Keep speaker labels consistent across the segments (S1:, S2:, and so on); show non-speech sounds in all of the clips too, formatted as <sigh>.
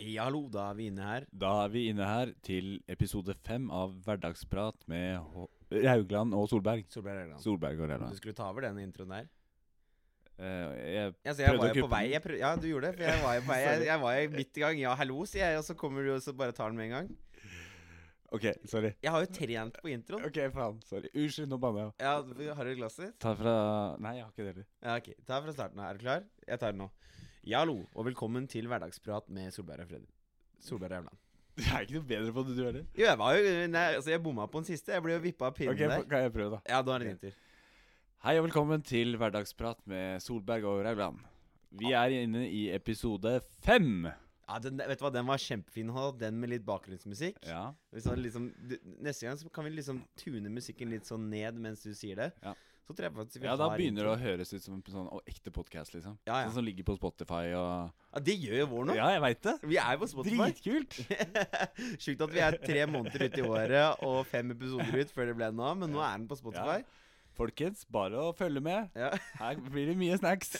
S1: Ja, hallo, da er vi inne her.
S2: Da er vi inne her til episode fem av Hverdagsprat med H Raugland og Solberg.
S1: Solberg Erland.
S2: Solberg og
S1: Du
S2: Raugland.
S1: skulle ta over den introen der.
S2: Eh, jeg
S1: Altså, jeg
S2: Prøvde
S1: var jo
S2: å
S1: på
S2: kuppe
S1: vei.
S2: den.
S1: Jeg prøv, ja, du gjorde det. For jeg var
S2: <laughs>
S1: jo på vei. Jeg, jeg var jo midt i gang. Ja, hallo, sier jeg, og så kommer du og så bare tar den med en gang.
S2: OK, sorry.
S1: Jeg har jo trent på introen.
S2: OK, faen. Sorry. Unnskyld, nå banner jeg.
S1: Ja, Har du glasset?
S2: Ta fra Nei, jeg har ikke det heller. <laughs>
S1: Ja, ok. Ta fra starten av. Er du klar? Jeg tar den nå. Ja, hallo, og velkommen til hverdagsprat med Solberg og Freddy. Solberg Erland.
S2: Jeg er ikke noe bedre på det du heller.
S1: Jo, jeg var jo Nei, altså, jeg bomma på den siste. Jeg ble jo vippa av pinnen
S2: OK,
S1: der.
S2: kan jeg prøve, da?
S1: Ja, da er det din tur.
S2: Hei og velkommen til Hverdagsprat med Solberg og Raugland. Vi er inne i episode fem.
S1: Ja, den, vet du hva, den var kjempefin, Håvard. den med litt bakgrunnsmusikk.
S2: Ja.
S1: Hvis han liksom, du, neste gang så kan vi liksom tune musikken litt sånn ned mens du sier det.
S2: Ja.
S1: Så tror jeg faktisk vi
S2: ja, da
S1: har
S2: begynner det
S1: intro.
S2: å høres ut som en sånn å, ekte podkast, liksom.
S1: Ja, ja.
S2: Sånn som ligger på Spotify og
S1: ja, Det gjør jo vår nå.
S2: Ja, jeg veit det.
S1: Vi er jo på Spotify.
S2: Dritkult!
S1: Sjukt at vi er tre måneder ut i året og fem episoder ut før det ble nå, men nå er den på Spotify.
S2: Folkens, bare å følge med.
S1: Ja.
S2: Her blir det mye snacks.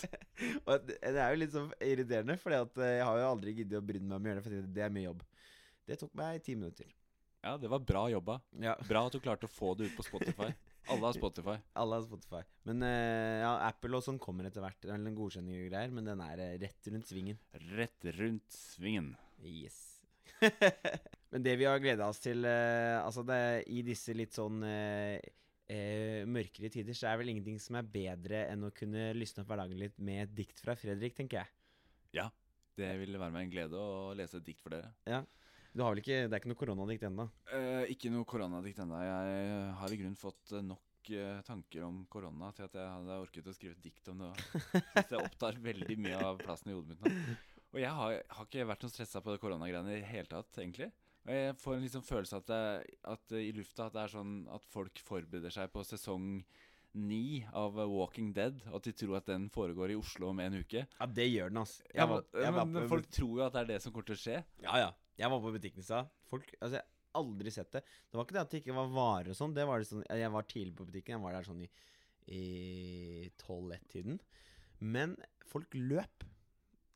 S1: Og det det er jo litt sånn irriterende, for jeg har jo aldri giddet å bry meg om å gjøre det, for det er mye jobb. Det tok meg ti minutter.
S2: Ja, det var bra jobba.
S1: Ja,
S2: Bra at du klarte å få det ut på Spotify. Alle har Spotify.
S1: alle har Spotify. Men eh, ja, Apple og sånn kommer etter hvert, eller en godkjenning og greier, men den er eh, rett rundt svingen.
S2: Rett rundt svingen.
S1: Yes. <laughs> Men det vi har gleda oss til eh, altså det, i disse litt sånn eh, eh, mørkere tider, så er vel ingenting som er bedre enn å kunne lysne opp hverdagen litt med et dikt fra Fredrik, tenker jeg.
S2: Det ville være meg en glede å lese et dikt for dere.
S1: Du har vel ikke, Det er ikke noe koronadikt ennå?
S2: Eh, ikke noe koronadikt ennå. Jeg har i grunnen fått eh, nok eh, tanker om korona til at jeg hadde orket å skrive et dikt om det. også. Synes det opptar veldig mye av plassen i hodet mitt nå. Og jeg har, har ikke vært noe stressa på det koronagreiene i det hele tatt, egentlig. Og jeg får en liksom følelse at, det, at eh, i lufta at det er sånn at folk forbereder seg på sesong ni av eh, Walking Dead, og at de tror at den foregår i Oslo om en uke.
S1: Ja, det gjør den, altså.
S2: Ja,
S1: Jeg var, jeg var
S2: men,
S1: på,
S2: men folk tror jo at det er det som kommer til å skje.
S1: ja, ja. Jeg var på butikken i stad. Folk Altså, jeg har aldri sett det. Det var ikke det at det ikke var varer og sånn. Det var det sånn Jeg var tidlig på butikken. Jeg var der sånn i, i 12-1-tiden. Men folk løp.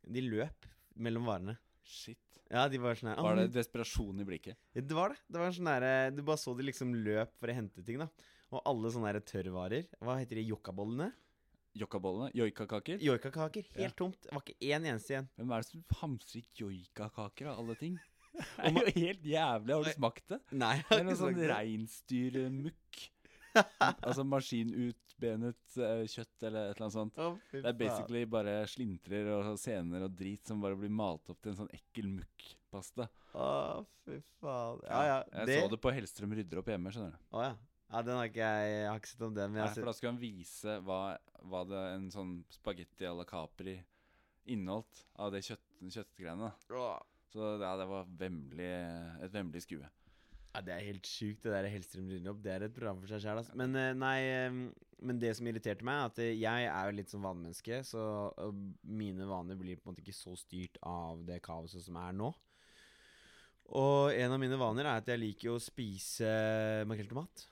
S1: De løp mellom varene.
S2: Shit.
S1: Ja, de var sånn her
S2: Var det desperasjon i blikket?
S1: det var det. Det var sånn der, Du bare så de liksom løp for å hente ting, da. Og alle sånne der tørrvarer. Hva heter de? Jokkabollene?
S2: Jokkabollene? Joikakaker?
S1: Joikakaker. Helt
S2: Ja.
S1: tomt. Det var ikke én eneste igjen.
S2: Hvem er det som hamstrer joikakaker av alle
S1: <laughs>
S2: ting? Det er jo helt jævlig. Har du smakt det? <laughs>
S1: Nei, jeg
S2: Det
S1: har
S2: er noe
S1: ikke sagt
S2: sånn
S1: det.
S2: reinsdyrmukk.
S1: <laughs>
S2: Altså maskinutbenet eh, kjøtt eller et eller annet sånt.
S1: Å, fy
S2: Det er
S1: faen.
S2: basically bare slintrer og sener og drit som bare blir malt opp til en sånn ekkel mukkpasta.
S1: Å, fy faen. Ja, ja.
S2: Jeg så det på Hellstrøm rydder opp hjemme, skjønner du.
S1: Å, ja. ja, den har ikke jeg Jeg har ikke sett om den, men jeg
S2: Nei,
S1: har
S2: for
S1: sett
S2: da skulle han vise hva, hva det en sånn spagetti à la Capri inneholdt av det kjøtt, kjøttgreiene. da.
S1: Å.
S2: Så ja, det var vemmelig, et vemmelig skue.
S1: Ja, Det er helt sjukt, det der Hellstrøm rydder opp. Det er et program for seg sjæl. Altså. Men, eh, nei, eh, men det som irriterte meg, er at eh, jeg er jo litt som vanemenneske. Så eh, mine vaner blir på en måte ikke så styrt av det kaoset som er nå. Og en av mine vaner er at jeg liker jo å spise makrell i tomat.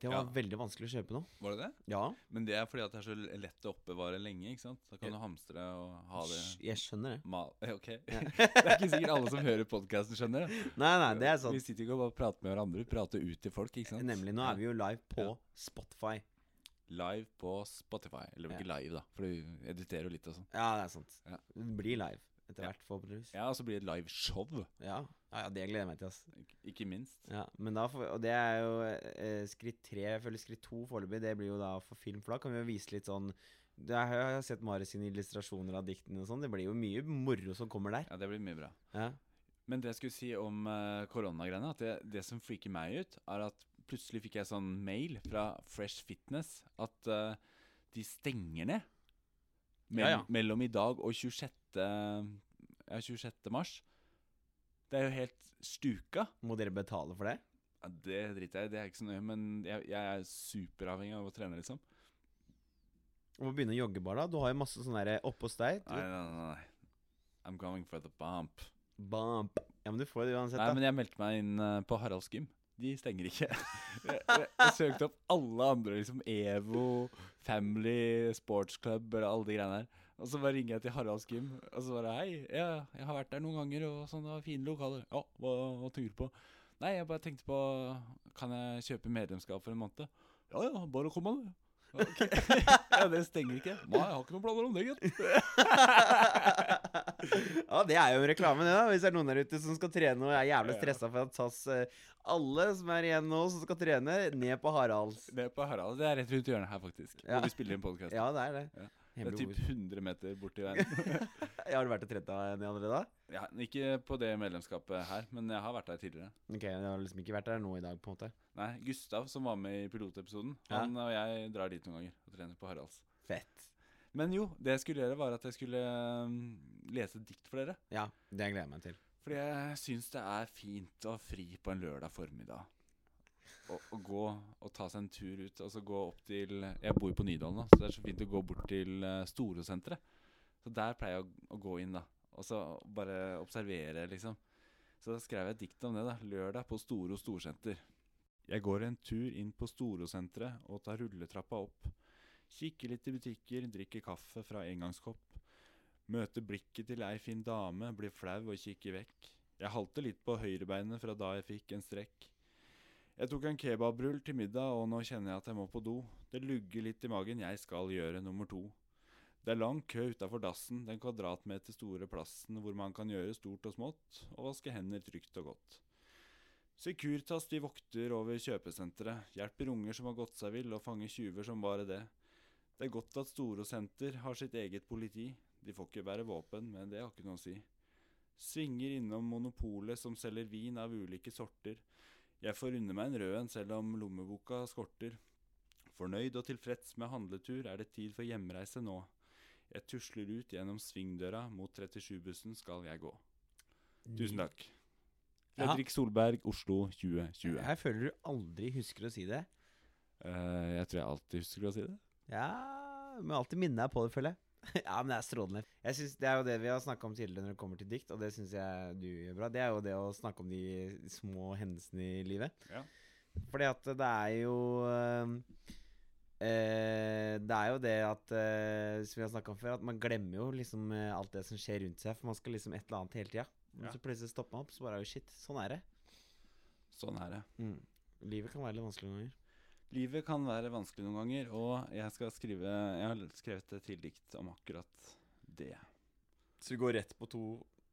S1: Det var
S2: Ja.
S1: veldig vanskelig å kjøpe nå.
S2: Var det det?
S1: Ja,
S2: Men det er fordi at det er så l- lett å oppbevare lenge, ikke sant? Da kan du hamstre og ha det
S1: sj- jeg skjønner det.
S2: <laughs> mal... Eh, Ok. det er ikke sikkert alle som hører podkasten, skjønner det.
S1: Nei, nei, det er sant.
S2: Vi sitter jo ikke og bare prater med hverandre, vi prater ut til folk, ikke sant?
S1: Nemlig, nå
S2: Ja.
S1: er vi jo live på
S2: Ja.
S1: Spotify.
S2: Live på Spotify. Eller ikke live, da, for du editerer jo litt og sånn.
S1: Ja, det er sant.
S2: Ja.
S1: Det blir live etter
S2: Ja.
S1: hvert, forhåpentligvis. Ja.
S2: Ja, og så blir det et liveshow,
S1: Ja. ja, det gleder jeg meg til, ass.
S2: Ik- ikke minst.
S1: Ja, men da får, og det er jo eh, skritt tre, jeg føler skritt to foreløpig, det blir jo da for film, for da kan vi jo vise litt sånn det er, Jeg har sett Mari sine illustrasjoner av diktene og sånn, det blir jo mye moro som kommer der.
S2: Ja, det blir mye bra.
S1: Ja,
S2: Men det jeg skulle si om eh, koronagreiene, at det, det som freaker meg ut, er at plutselig fikk jeg sånn mail fra Fresh Fitness at eh, de stenger ned mell
S1: Ja, ja.
S2: mellom i dag og 26. Ja, 26. mars. Det er jo helt stuka.
S1: Må dere betale for det?
S2: Ja, det driter jeg i, det er ikke så nøye, men jeg, jeg er superavhengig av å trene, liksom.
S1: Du må begynne å jogge bare, da. Du har jo masse sånn derre oppe hos deg.
S2: Nei,
S1: Du,
S2: nei, nei. nei. I'm going for the bump.
S1: bam. Ja, men du får det uansett,
S2: Nei,
S1: da.
S2: men jeg meldte meg inn eh, på Haralds gym. De stenger ikke. <laughs> jeg, jeg, jeg søkte opp alle andre, liksom EVO, Family, Sports Club og alle de greiene der. Og så bare ringer jeg til Haralds gym og så bare Hei, ja, jeg har vært der noen ganger, og sånn, det var fine lokaler. Ja, hva, hva tenker du på? Nei, jeg bare tenkte på Kan jeg kjøpe medlemskap for en måned? Ja ja, bare kom an, du. Ok. <laughs> ja, det stenger ikke. Nei, jeg har ikke noen planer om det, gitt.
S1: ja, det er jo reklame, det, da. Hvis det er noen der ute som skal trene og er jævlig
S2: Ja.
S1: stressa for at SAS eh, Alle som er igjen nå, som skal trene, ned på Haralds.
S2: Det er på Harald. Det er rett rundt hjørnet her, faktisk.
S1: Ja.
S2: Hvor vi spiller inn podkast.
S1: Ja, det er det.
S2: Ja. Det er
S1: Hemmelig
S2: typ
S1: ord.
S2: 100 meter borti veien.
S1: Ja, Har du vært og trent deg ned allerede? da?
S2: Ja, ikke på det medlemskapet her, men jeg har vært der tidligere.
S1: Ok, Jeg har liksom ikke vært der nå i dag, på en måte.
S2: Nei, Gustav, som var med i pilotepisoden,
S1: Ja.
S2: han og jeg drar dit noen ganger og trener på Haralds.
S1: Fett.
S2: Men jo, det jeg skulle gjøre, var at jeg skulle mm, lese dikt for dere.
S1: Ja, det gleder jeg meg til.
S2: Fordi jeg syns det er fint å ha fri på en lørdag formiddag. Og, og gå og ta seg en tur ut. Og så gå opp til Jeg bor jo på Nydalen, da, så det er så fint å gå bort til eh, Storosenteret. Så der pleier jeg å, å gå inn, da. Og så bare observere, liksom. Så da skrev jeg et dikt om det, da. 'Lørdag på Storo Storsenter'. Jeg går en tur inn på Storosenteret og tar rulletrappa opp. Kikker litt i butikker, drikker kaffe fra engangskopp. Møter blikket til ei fin dame, blir flau og kikker vekk. Jeg halter litt på høyrebeinet fra da jeg fikk en strekk. Jeg tok en kebabrull til middag, og nå kjenner jeg at jeg må på do. Det lugger litt i magen, jeg skal gjøre nummer to. Det er lang kø utafor dassen, den kvadratmeter store plassen hvor man kan gjøre stort og smått, og vaske hender trygt og godt. Securitas de vokter over kjøpesenteret, hjelper unger som har gått seg vill, og fanger tyver som bare det. Det er godt at Storosenter har sitt eget politi. De får ikke bære våpen, men det har ikke noe å si. Svinger innom Monopolet som selger vin av ulike sorter. Jeg får unne meg en rød en selv om lommeboka skorter. Fornøyd og tilfreds med handletur er det tid for hjemreise nå. Jeg tusler ut gjennom svingdøra, mot 37-bussen skal jeg gå. Tusen takk.
S1: Ja.
S2: Fredrik Solberg, Oslo 2020.
S1: Jeg føler du aldri husker å si det.
S2: Eh, jeg tror jeg alltid husker å si det.
S1: Ja, må alltid minne deg på det, føler jeg. <laughs> ja, men det er strålende. Jeg synes Det er jo det vi har snakka om tidligere når det kommer til dikt, og det syns jeg du gjør bra. Det er jo det å snakke om de små hendelsene i livet.
S2: Ja.
S1: Fordi at det er jo eh, eh, Det er jo det at eh, Som vi har snakka om før, at man glemmer jo liksom eh, alt det som skjer rundt seg, for man skal liksom et eller annet hele tida. Men
S2: Ja.
S1: så plutselig stopper man opp, så bare er jo shit. Sånn er det.
S2: Sånn er det.
S1: Livet kan være litt vanskelig noen ganger.
S2: Livet kan være vanskelig noen ganger, og jeg, skal skrive, jeg har skrevet et til dikt om akkurat det.
S1: Så vi går rett på to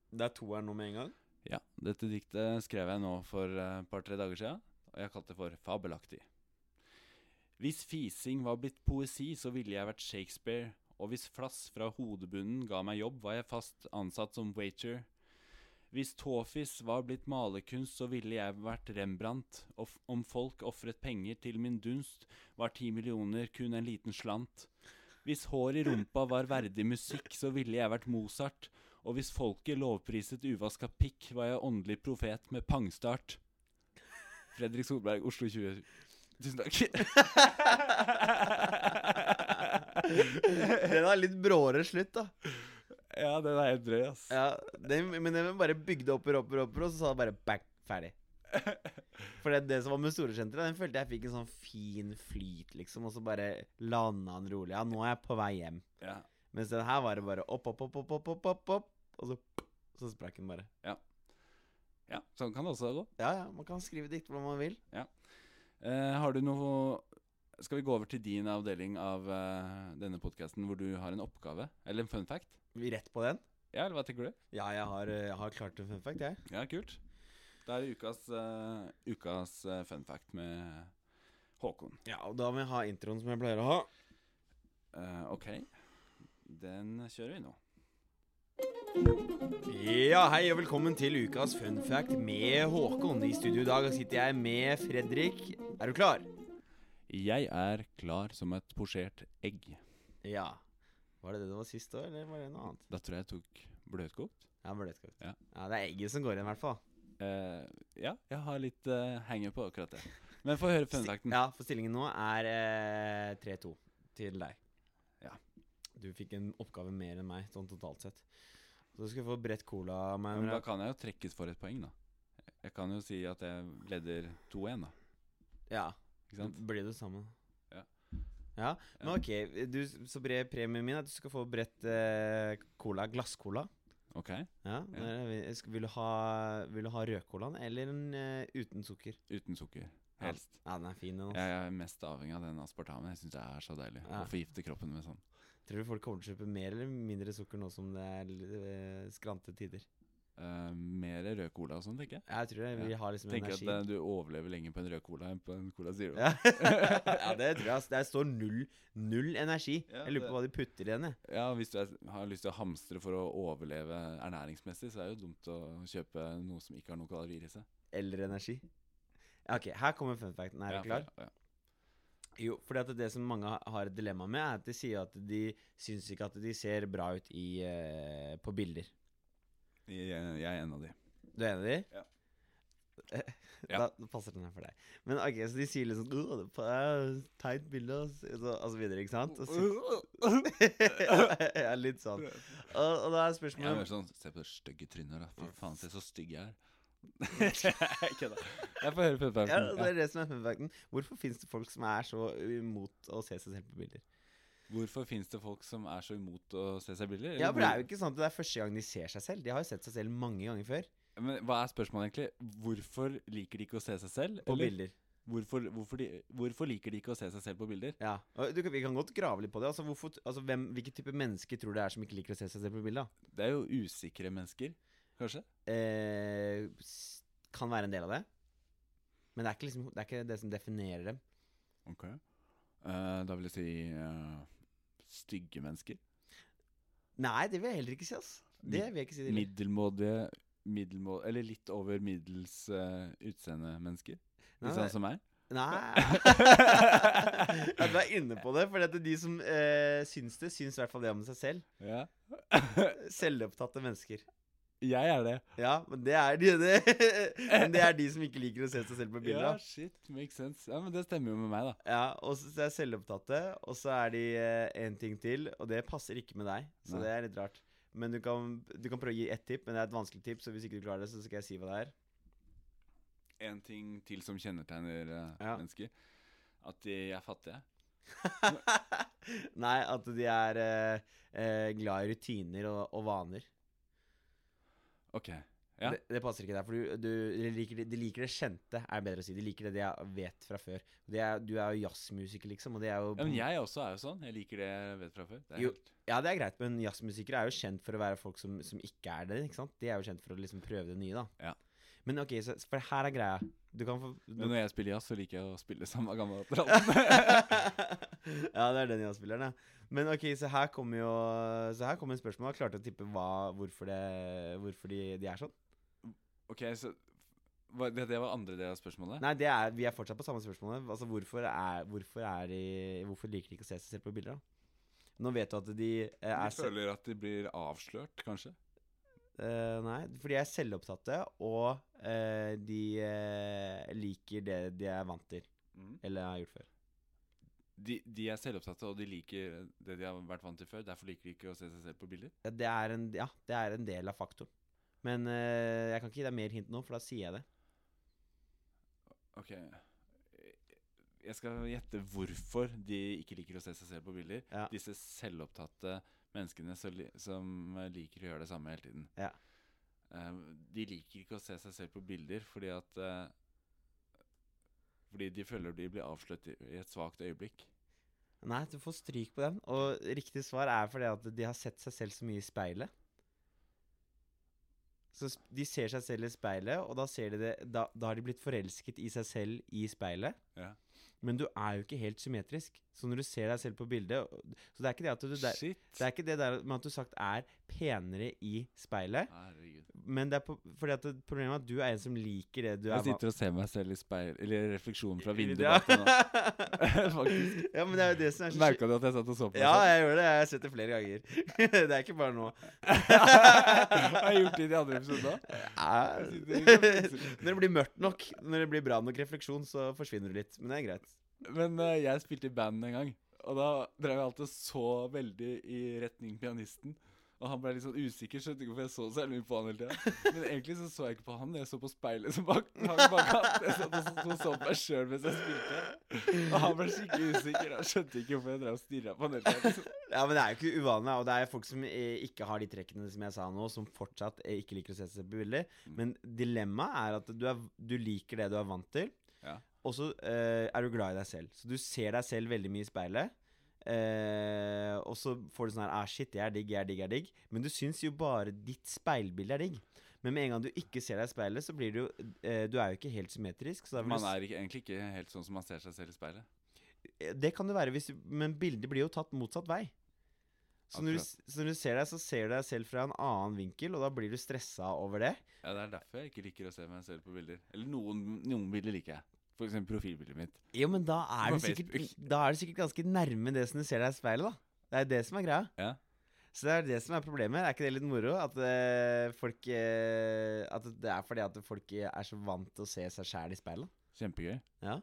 S1: Det er to her nå med en gang?
S2: Ja, Dette diktet skrev jeg nå for eh, et par-tre dager siden, og jeg kalte det for Fabelaktig. Hvis fising var blitt poesi, så ville jeg vært Shakespeare, og hvis flass fra hodebunnen ga meg jobb, var jeg fast ansatt som waiter. Hvis tåfis var blitt malerkunst, så ville jeg vært Rembrandt, og f- om folk ofret penger til min dunst, var ti millioner kun en liten slant. Hvis hår i rumpa var verdig musikk, så ville jeg vært Mozart, og hvis folket lovpriset uvaska pikk, var jeg åndelig profet med pangstart. Fredrik Solberg, Oslo 20. Tusen takk.
S1: Den er litt bråere slutt, da.
S2: Ja, den er helt drøy, ass.
S1: Ja, den, men den bare bygde opp og opp og opp, og så sa det bare bang, ferdig. For det, det som var med Storesenteret, den følte jeg fikk en sånn fin flyt, liksom, og så bare landa den rolig. Ja, nå er jeg på vei hjem.
S2: Ja.
S1: Mens den her var det bare opp, opp, opp, opp, opp, opp, opp, opp og så, så sprakk den bare.
S2: ja, sånn kan det også gå.
S1: Ja, ja, man kan skrive dikt hvordan man vil.
S2: Eh, har du noe Skal vi gå over til din avdeling av eh, denne podkasten hvor du har en oppgave? Eller en fun fact?
S1: Vi Rett på den.
S2: Ja, eller hva tenker du?
S1: Ja, jeg har, eh, jeg har klart en fun fact, jeg.
S2: Ja, kult. Da er det ukas, eh, ukas eh, fun fact med Håkon.
S1: Ja, og da må jeg ha introen som jeg pleier å ha.
S2: Eh, ok, den kjører vi nå.
S1: Ja, hei og velkommen til ukas fun fact med Håkon. I studio i dag sitter jeg med Fredrik. Er du klar?
S2: Jeg er klar som et posjert egg.
S1: Ja. Var det det det var sist òg, eller var det noe annet?
S2: Da tror jeg jeg tok bløtkokt.
S1: Ja, men det, skal vi-
S2: Ja.
S1: ja, det er egget som går igjen, i hvert fall.
S2: Eh, ja, jeg har litt uh, henger på akkurat det. Men få høre funfacten.
S1: Ja, for stillingen nå er eh, 3-2 til deg.
S2: Ja.
S1: Du fikk en oppgave mer enn meg, sånn totalt sett. Så skal du få brett cola av meg.
S2: Men da
S1: Mra.
S2: kan jeg jo trekkes for et poeng, da. Jeg kan jo si at jeg leder 2-1, da.
S1: Ja,
S2: Ikke
S1: så
S2: sant?
S1: blir du sammen.
S2: Ja.
S1: Ja, men ok, du, så bred premien min er at du skal få bredt eh, cola, glasscola.
S2: Ok,
S1: Ja, der er vi. Jeg skal- Vil, du ha, vil du ha rødcolaen eller en eh, uten sukker?
S2: Uten sukker.
S1: Ja.
S2: Helst.
S1: Ja, den er fin. Den, altså.
S2: Jeg er mest avhengig av den aspartamen. Jeg syns det er så deilig
S1: Ja.
S2: å forgifte kroppen med sånn.
S1: Tror du folk kommer til å kjøpe mer eller mindre sukker nå som det er eh, skrante tider?
S2: Uh, mer rød cola og sånn, tenker jeg.
S1: Jeg tror det, vi har liksom
S2: Tenker
S1: energi.
S2: at eh, du overlever lenger på en rød cola enn på en Cola Zero.
S1: Ja. <laughs> ja, det tror jeg. ass. Der står null, null energi.
S2: Ja,
S1: jeg lurer
S2: det-
S1: på hva de putter i den. jeg.
S2: Ja, Hvis du er, har lyst til å hamstre for å overleve ernæringsmessig, så er det jo dumt å kjøpe noe som ikke har noen kalorier i seg.
S1: Eller energi. Ja, Ok, her kommer fun facten. Er
S2: Ja,
S1: du klar?
S2: for- Ja.
S1: Jo, fordi at det som mange ha- har et dilemma med, er at de sier at de syns ikke at de ser bra ut i, eh, på bilder.
S2: Jeg, jeg er en av de.
S1: Du er enig i det? <laughs>
S2: Ja.
S1: Da da passer den her for deg. Men ok, så de sier litt sånn «Åh, det er Teit bilde, og så, og så videre, ikke sant? Og
S2: <laughs>
S1: så, <laughs> ja, litt sånn. Og, og da er
S2: Jeg er mer
S1: spørsmålet
S2: sånn Se på det stygge trynet, da. Fy faen, se så stygg jeg er. <laughs> Kødda. Jeg får høre puppen.
S1: ja, det er det som er fun facten. Hvorfor fins det folk som er så imot å se seg selv på bilder?
S2: Hvorfor fins det folk som er så imot å se seg i bilder?
S1: Ja, for det er
S2: Eller
S1: jo ikke sånn at det er første gang de ser seg selv. De har jo sett seg selv mange ganger før
S2: hvor- Men hva er spørsmålet egentlig? Hvorfor liker de ikke å se seg selv?
S1: på
S2: eller
S1: bilder.
S2: Hvorfor, hvorfor, de, hvorfor liker de ikke å se seg selv på bilder?
S1: Ja, og du, kan- Vi kan godt grave litt på det. Altså, hvorfor, t- altså hvem, Hvilke type mennesker tror du det er som ikke liker å se seg selv på bilder?
S2: Det er jo usikre mennesker, kanskje?
S1: Eh, s- kan være en del av det. Men det er ikke, liksom, det, er ikke det som definerer dem.
S2: Ok. da vil jeg si eh, stygge mennesker.
S1: Nei, det vil jeg heller ikke si. ass Det vil jeg ikke si. Til.
S2: Middelmådige middelmå, Eller litt over middels eh, utseende mennesker.
S1: Nei,
S2: Litt sånn som meg.
S1: Nei
S2: <laughs>
S1: ja, Du er inne på det. For at de som eh, syns det, syns i hvert fall det om seg selv.
S2: <laughs> Ja.
S1: Selvopptatte mennesker.
S2: Jeg er det.
S1: Ja, men det er de, <laughs> det. Men det er de som ikke liker å se seg selv på
S2: Ja,
S1: bilder.
S2: shit, makes sense. Ja, Men det stemmer jo med meg, da.
S1: Ja, og så så er selvopptatte, og så er de én ting til, og det passer ikke med deg. Så
S2: Nei.
S1: det er litt rart. Men du kan, du kan prøve å gi ett tipp, men det er et vanskelig tipp, så hvis ikke du klarer det, så skal jeg si hva det er. <laughs>
S2: En ting til som kjennetegner eh,
S1: Ja.
S2: mennesker. At de er fattige.
S1: Nei, at de er eh, eh, glad i rutiner og, og vaner.
S2: Ok. Ja.
S1: Det, det passer ikke der, for du, du de liker, det- de liker det kjente, er bedre å si. De liker det de er- vet fra før. Det er, du er jo jazzmusiker, liksom, og det er jo
S2: Ja, men jeg også er jo sånn. Jeg liker det jeg vet fra før. Det er
S1: Jo.
S2: helt-
S1: Ja, det er greit, men jazzmusikere er jo kjent for å være folk som, som ikke er det. ikke sant? De er jo kjent for å liksom prøve det nye, da.
S2: Ja.
S1: Men ok, så, for her er greia. Du kan
S2: <laughs>
S1: få
S2: Men
S1: du, <laughs>
S2: når jeg spiller jazz, så liker jeg å spille <laughs> samme gamle <laughs> trallen.
S1: Ja, det er den jazzspilleren, ja. Men ok, så her kommer jo Så her kommer et spørsmål. Jeg klarte å tippe hva, hvorfor, det, hvorfor de, de er sånn.
S2: ok, så hva, det, det var andre del av spørsmålet?
S1: Nei, det er, vi er fortsatt på samme spørsmålet. Altså, hvorfor, er, hvorfor, er de, hvorfor liker de ikke å se seg selv på bilder, da? Nå vet du at de eh, er
S2: Jeg
S1: se-
S2: føler at de blir avslørt, kanskje?
S1: Eh, nei, for de er selvopptatte, og eh, de eh, liker det de er vant til,
S2: Mm.
S1: eller har gjort før.
S2: De, de er selvopptatte, og de liker det de har vært vant til før. Derfor liker de ikke å se seg selv på bilder.
S1: Ja, Det er en, ja, det er en del av faktoren. Men eh, jeg kan ikke gi deg mer hint nå, for da sier jeg det.
S2: Ok Jeg skal gjette hvorfor de ikke liker å se seg selv på bilder.
S1: Ja.
S2: Disse selvopptatte menneskene som, li- som eh, liker å gjøre det samme hele tiden.
S1: Ja.
S2: Eh, De liker ikke å se seg selv på bilder fordi at eh, Fordi de føler de blir avslørt i i et svakt øyeblikk.
S1: Nei, du får stryk på den. Og riktig svar er fordi at de har sett seg selv så mye i speilet. Så sp- de ser seg selv i speilet, og da, ser de det, da, da har de blitt forelsket i seg selv i speilet.
S2: Ja.
S1: Men du er jo ikke helt symmetrisk. Så når du ser deg selv på bildet og- Så det er ikke det at du der,
S2: Shit!
S1: Det er ikke det der med at du sagt er penere i speilet,
S2: Herregud.
S1: men det er på, fordi at det, problemet er at du er en som liker det du er
S2: Jeg
S1: vant
S2: sitter og ser meg selv i speil Eller refleksjonen fra vinduet
S1: Ja.
S2: bak meg nå. <laughs>
S1: <laughs>
S2: Faktisk.
S1: ja, men det er jo det som er så sjukt.
S2: Merka du at jeg satt og så på meg
S1: Ja,
S2: <laughs> selv?
S1: jeg gjør det. Jeg har sett det flere ganger. <laughs> det er ikke bare nå.
S2: Har jeg gjort det i de andre episodene òg?
S1: Ja.
S2: Jeg sitter
S1: <laughs>
S2: ikke
S1: Når det blir mørkt nok, når det blir bra nok refleksjon, så forsvinner du litt. Men det er greit.
S2: Men eh, jeg spilte i band en gang, og da drev jeg alltid så veldig i retning pianisten. Og han ble litt sånn usikker, skjønte ikke hvorfor jeg så så jævlig mye på han hele tida. Men egentlig så så jeg ikke på han, jeg så på speilet som bak hang bak han. Jeg satt og så, så på meg sjøl mens jeg spilte. Og han ble skikkelig usikker. Han skjønte ikke hvorfor jeg drev og stirra på han hele tida. liksom.
S1: Ja, men det er jo ikke uvanlig, og det er folk som eh, ikke har de trekkene som jeg sa nå, som fortsatt eh, ikke liker å se seg på bilder.
S2: Mm.
S1: Men dilemmaet er at du, er, du liker det du er vant til,
S2: Ja.
S1: og så eh, er du glad i deg selv. Så du ser deg selv veldig mye i speilet, eh, og så får du sånn her ah, Shit, jeg er digg, jeg er digg, jeg er digg. Men du syns jo bare ditt speilbilde er digg. Men med en gang du ikke ser deg i speilet, så blir du jo eh, Du er jo ikke helt symmetrisk. Så da vil
S2: Man
S1: du,
S2: er ikke, egentlig ikke helt sånn som man ser seg selv i speilet.
S1: s- Eh, det kan du være, hvis du, men bildet blir jo tatt motsatt vei. Så når, du, s- så når du ser deg, så ser du deg selv fra en annen vinkel, og da blir du stressa over det.
S2: Ja, Det er derfor jeg ikke liker å se meg selv på bilder. Eller noen, noen bilder liker jeg. For eksempel profilbildet mitt.
S1: Jo, men da er,
S2: På
S1: du sikkert,
S2: Facebook.
S1: da er du sikkert ganske nærme det som du ser deg i speilet, da. Det er det som er greia.
S2: Ja.
S1: Så det er det som er problemet. Er ikke det litt moro? At, eh, folk, eh, at det er fordi at folk er så vant til å se seg sjæl i speilet.
S2: Kjempegøy.
S1: Ja.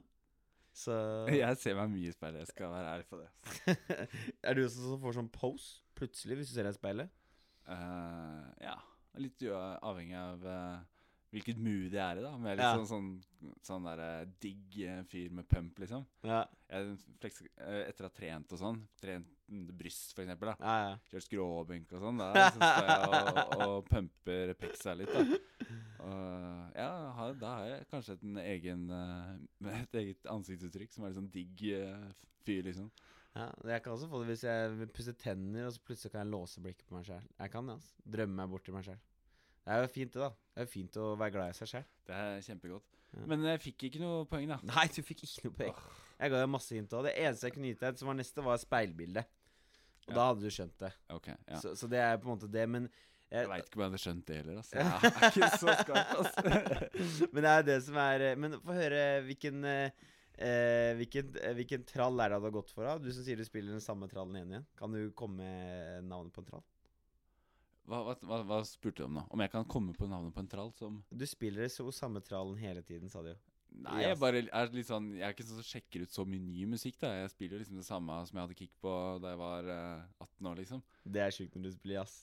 S1: Så
S2: Jeg ser meg mye i speilet. Jeg skal være ærlig på det.
S1: <laughs> Er du også sånn som får sånn pose plutselig hvis du ser deg i speilet?
S2: Eh, ja. Litt u- avhengig av eh, hvilket mood jeg er i, da. Om jeg er litt
S1: Ja.
S2: sånn, sånn, sånn der, eh, digg eh, fyr med pump, liksom.
S1: Ja,
S2: Jeg fleks, eh, etter å ha trent og sånn, trent mm, bryst for eksempel, da.
S1: ja, ja.
S2: Kjørt skråbenk og sånn.
S1: <laughs>
S2: Da så står jeg og, og pumper peksa litt, da. Og ja, har, da har jeg kanskje et, en egen, eh, <laughs> med et eget ansiktsuttrykk som er litt sånn digg eh, fyr, liksom.
S1: Ja, jeg kan også få det hvis jeg pusser tenner, og så plutselig kan jeg låse blikket på meg sjøl. Jeg kan det, altså. Drømme meg bort til meg sjøl. Det er jo fint, det, da. Det er jo fint å være glad i seg sjøl.
S2: Det er kjempegodt.
S1: Ja.
S2: Men jeg fikk ikke noe poeng, da.
S1: <laughs> Nei, du fikk ikke noe poeng. Jeg ga deg masse hint òg. Det eneste jeg kunne gitt deg, som var neste, var speilbildet. Og
S2: Ja.
S1: da hadde du skjønt det.
S2: Ok, ja.
S1: Så, så det er på en måte det, men
S2: Jeg
S1: eh,
S2: veit ikke om jeg hadde skjønt det heller, altså. Jeg er ikke så skarp, altså.
S1: <laughs> Men det er jo det som er eh, Men få høre hvilken eh, eh, hvilken, eh, hvilken trall er det du har gått for? da? Du som sier du spiller den samme trallen igjen og igjen. Kan du komme med navnet på en trall?
S2: Hva, hva, hva, hva spurte du om nå? Om jeg kan komme på navnet på en trall som
S1: Du spiller så samme trallen hele tiden, sa du jo.
S2: Nei,
S1: Ja.
S2: jeg bare er litt sånn Jeg er ikke sånn som sjekker ut så mye ny musikk, da. Jeg spiller jo liksom det samme som jeg hadde kick på da jeg var eh, 18 år, liksom.
S1: Det er sjukt når du spiller jazz.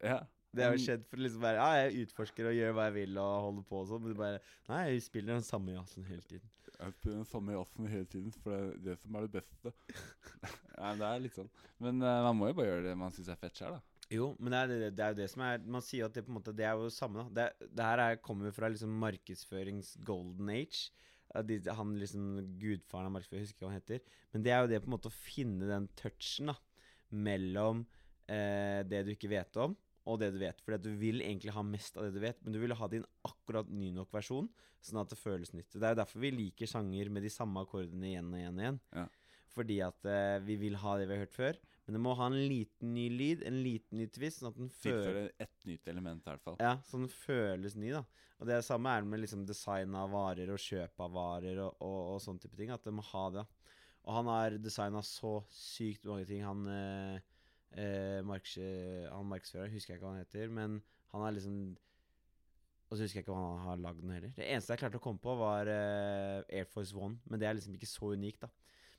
S2: Ja.
S1: Det har jo
S2: Mm.
S1: skjedd for liksom bare Ja, jeg utforsker og gjør hva jeg vil og holder på og sånn, men du bare Nei, jeg spiller den samme jazzen hele tiden.
S2: Jeg spiller den samme jazzen hele tiden, for det er det som er det beste. <laughs> Nei, det er litt sånn. Men eh, man må jo bare gjøre det man syns er fett sjøl, da.
S1: Jo, men det er, det, det er jo det som er Man sier jo at det på en måte Det er jo samme, da. Det, det her er, kommer jo fra liksom markedsførings golden age. At de, han liksom Gudfaren av markedsføring, jeg husker ikke hva han heter. Men det er jo det på en måte å finne den touchen da mellom eh, det du ikke vet om, og det du vet. Fordi at du vil egentlig ha mest av det du vet, men du vil ha din akkurat ny nok versjon, sånn at det føles nytt. Det er jo derfor vi liker sanger med de samme akkordene igjen og igjen og igjen.
S2: Ja.
S1: Fordi at eh, vi vil ha det vi har hørt ffør. Men det må ha en liten ny lyd, en liten ny twist, sånn at den føles
S2: Tilføre ett nytt element, i hvert fall.
S1: ja, så den føles ny, da. Og det samme er det med liksom design av varer og kjøp av varer og, og, og sånne type ting. At det må ha det. Og han har designa så sykt mange ting. Han, eh, eh, marks, han markedsføreren, husker jeg ikke hva han heter, men han er liksom Og så husker jeg ikke hva han har lagd nå heller. Det eneste jeg klarte å komme på, var eh, Air Force One, men det er liksom ikke så unikt, da.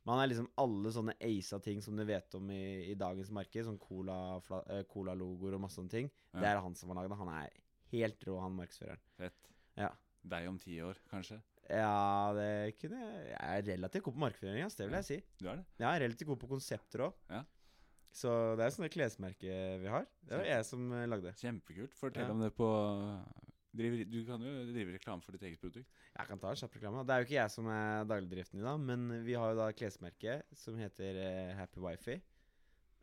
S1: Men han er liksom alle sånne aisa ting som du vet om i, i dagens marked, sånn cola, fla- eh, cola-logoer og masse sånne ting.
S2: Ja.
S1: Det er han som har lagd det. Han er helt rå, han markedsføreren.
S2: Fett.
S1: Ja.
S2: Deg om ti år, kanskje.
S1: Ja, det kunne jeg Jeg er relativt god på markedsføring, ass, det vil
S2: Ja.
S1: jeg si.
S2: Du er det?
S1: Jeg er relativt god på konsepter òg.
S2: Ja.
S1: Så det er sånne klesmerke vi har. Det var jeg som eh, lagde.
S2: Kjempekult. Fortell
S1: Ja.
S2: om det på driver, Du kan jo drive reklame for ditt eget produkt.
S1: Jeg kan ta en kjapp reklame. Det er jo ikke jeg som er dagligdriften i dag, men vi har jo da klesmerket som heter eh, Happy Wifey.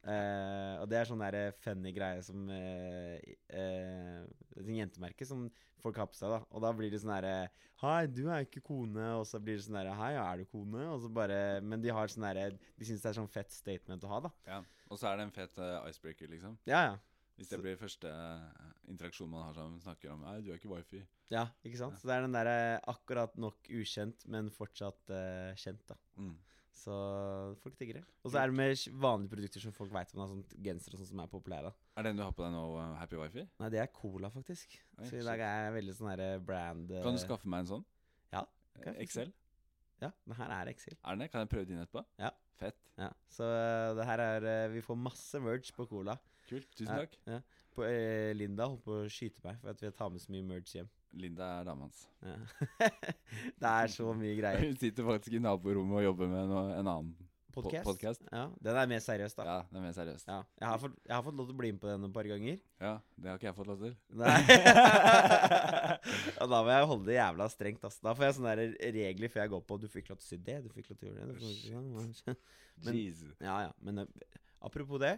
S1: Eh, og det er sånn der eh, funny greie som eh, i- eh, Det er sånn jentemerke som folk har på seg, da. Og da blir det sånn derre Hei, du er ikke kone. Og så blir det sånn derre Hei, er du kone? Og så bare Men de har sånn derre De syns det er sånn fett statement å ha, da.
S2: Ja. Og så er det en fet eh, icebreaker, liksom.
S1: Ja, ja.
S2: Hvis
S1: Så-
S2: det blir første eh, interaksjon man har sammen, snakker om Nei, du er ikke wifi.
S1: Ja, ikke sant? Så det er den derre akkurat nok ukjent, men fortsatt eh, kjent, da.
S2: Mm.
S1: Så folk digger det. Og så er det med sj- vanlige produkter som folk veit om. da, Sånn genser og sånt som er populære.
S2: Er den du har på deg nå, eh, happy wifi?
S1: Nei, det er cola, faktisk.
S2: Oi,
S1: så i dag
S2: shit.
S1: er jeg veldig sånn herre brand eh,
S2: Kan du skaffe meg en sånn?
S1: Ja, kan jeg fikse.
S2: Excel?
S1: Ja, den her er eksil.
S2: Er den det? Kan jeg prøve din etterpå?
S1: Ja.
S2: Fett.
S1: Ja, så eh, det her er eh, Vi får masse merge på cola.
S2: Kult.
S1: Ja.
S2: Tusen takk.
S1: På, eh, Linda holdt på å skyte meg for at vi tar med så mye merge hjem.
S2: Linda er dama hans.
S1: Ja. <laughs> det er så mye greier.
S2: Hun sitter faktisk i naborommet og jobber med noe, en annen po-
S1: Podcast.
S2: podcast.
S1: Ja, den er mer seriøs, da. Ja.
S2: Ja, det er mer seriøst. Ja.
S1: Jeg, har fått, jeg har fått lov til å bli med på den et par ganger.
S2: Det har ikke jeg fått lov til.
S1: Nei. <laughs> Og da må jeg holde det jævla strengt. Ass. Da får jeg sånne der regler før jeg går på. Du fikk lov til å si det, du fikk lov til å gjøre det. Du fikk lov til å... Men-
S2: Jeez.
S1: Ja, ja. Men eh, apropos det.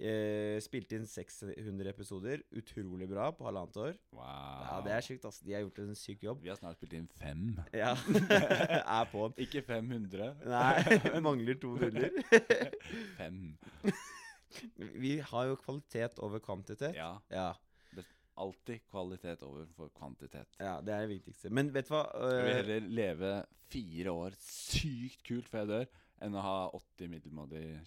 S1: Eh, spilte inn 600 episoder. Utrolig bra på halvannet år.
S2: Wow.
S1: Ja,
S2: Ah.
S1: Det er sjukt, ass. De har gjort en syk jobb.
S2: <laughs> Vi har snart spilt inn fem.
S1: Ja. <laughs> er på'n.
S2: Ikke 500.
S1: Nei, <laughs> mangler to nuller.
S2: Fem.
S1: Vi har jo kvalitet over kvantitet.
S2: Ja.
S1: Ja,
S2: Alltid kvalitet overfor kvantitet.
S1: ja det er det viktigste. Men vet du hva?
S2: Jeg vil
S1: Eh,
S2: heller leve fire år sykt kult før jeg dør, enn å ha 80 middelmådige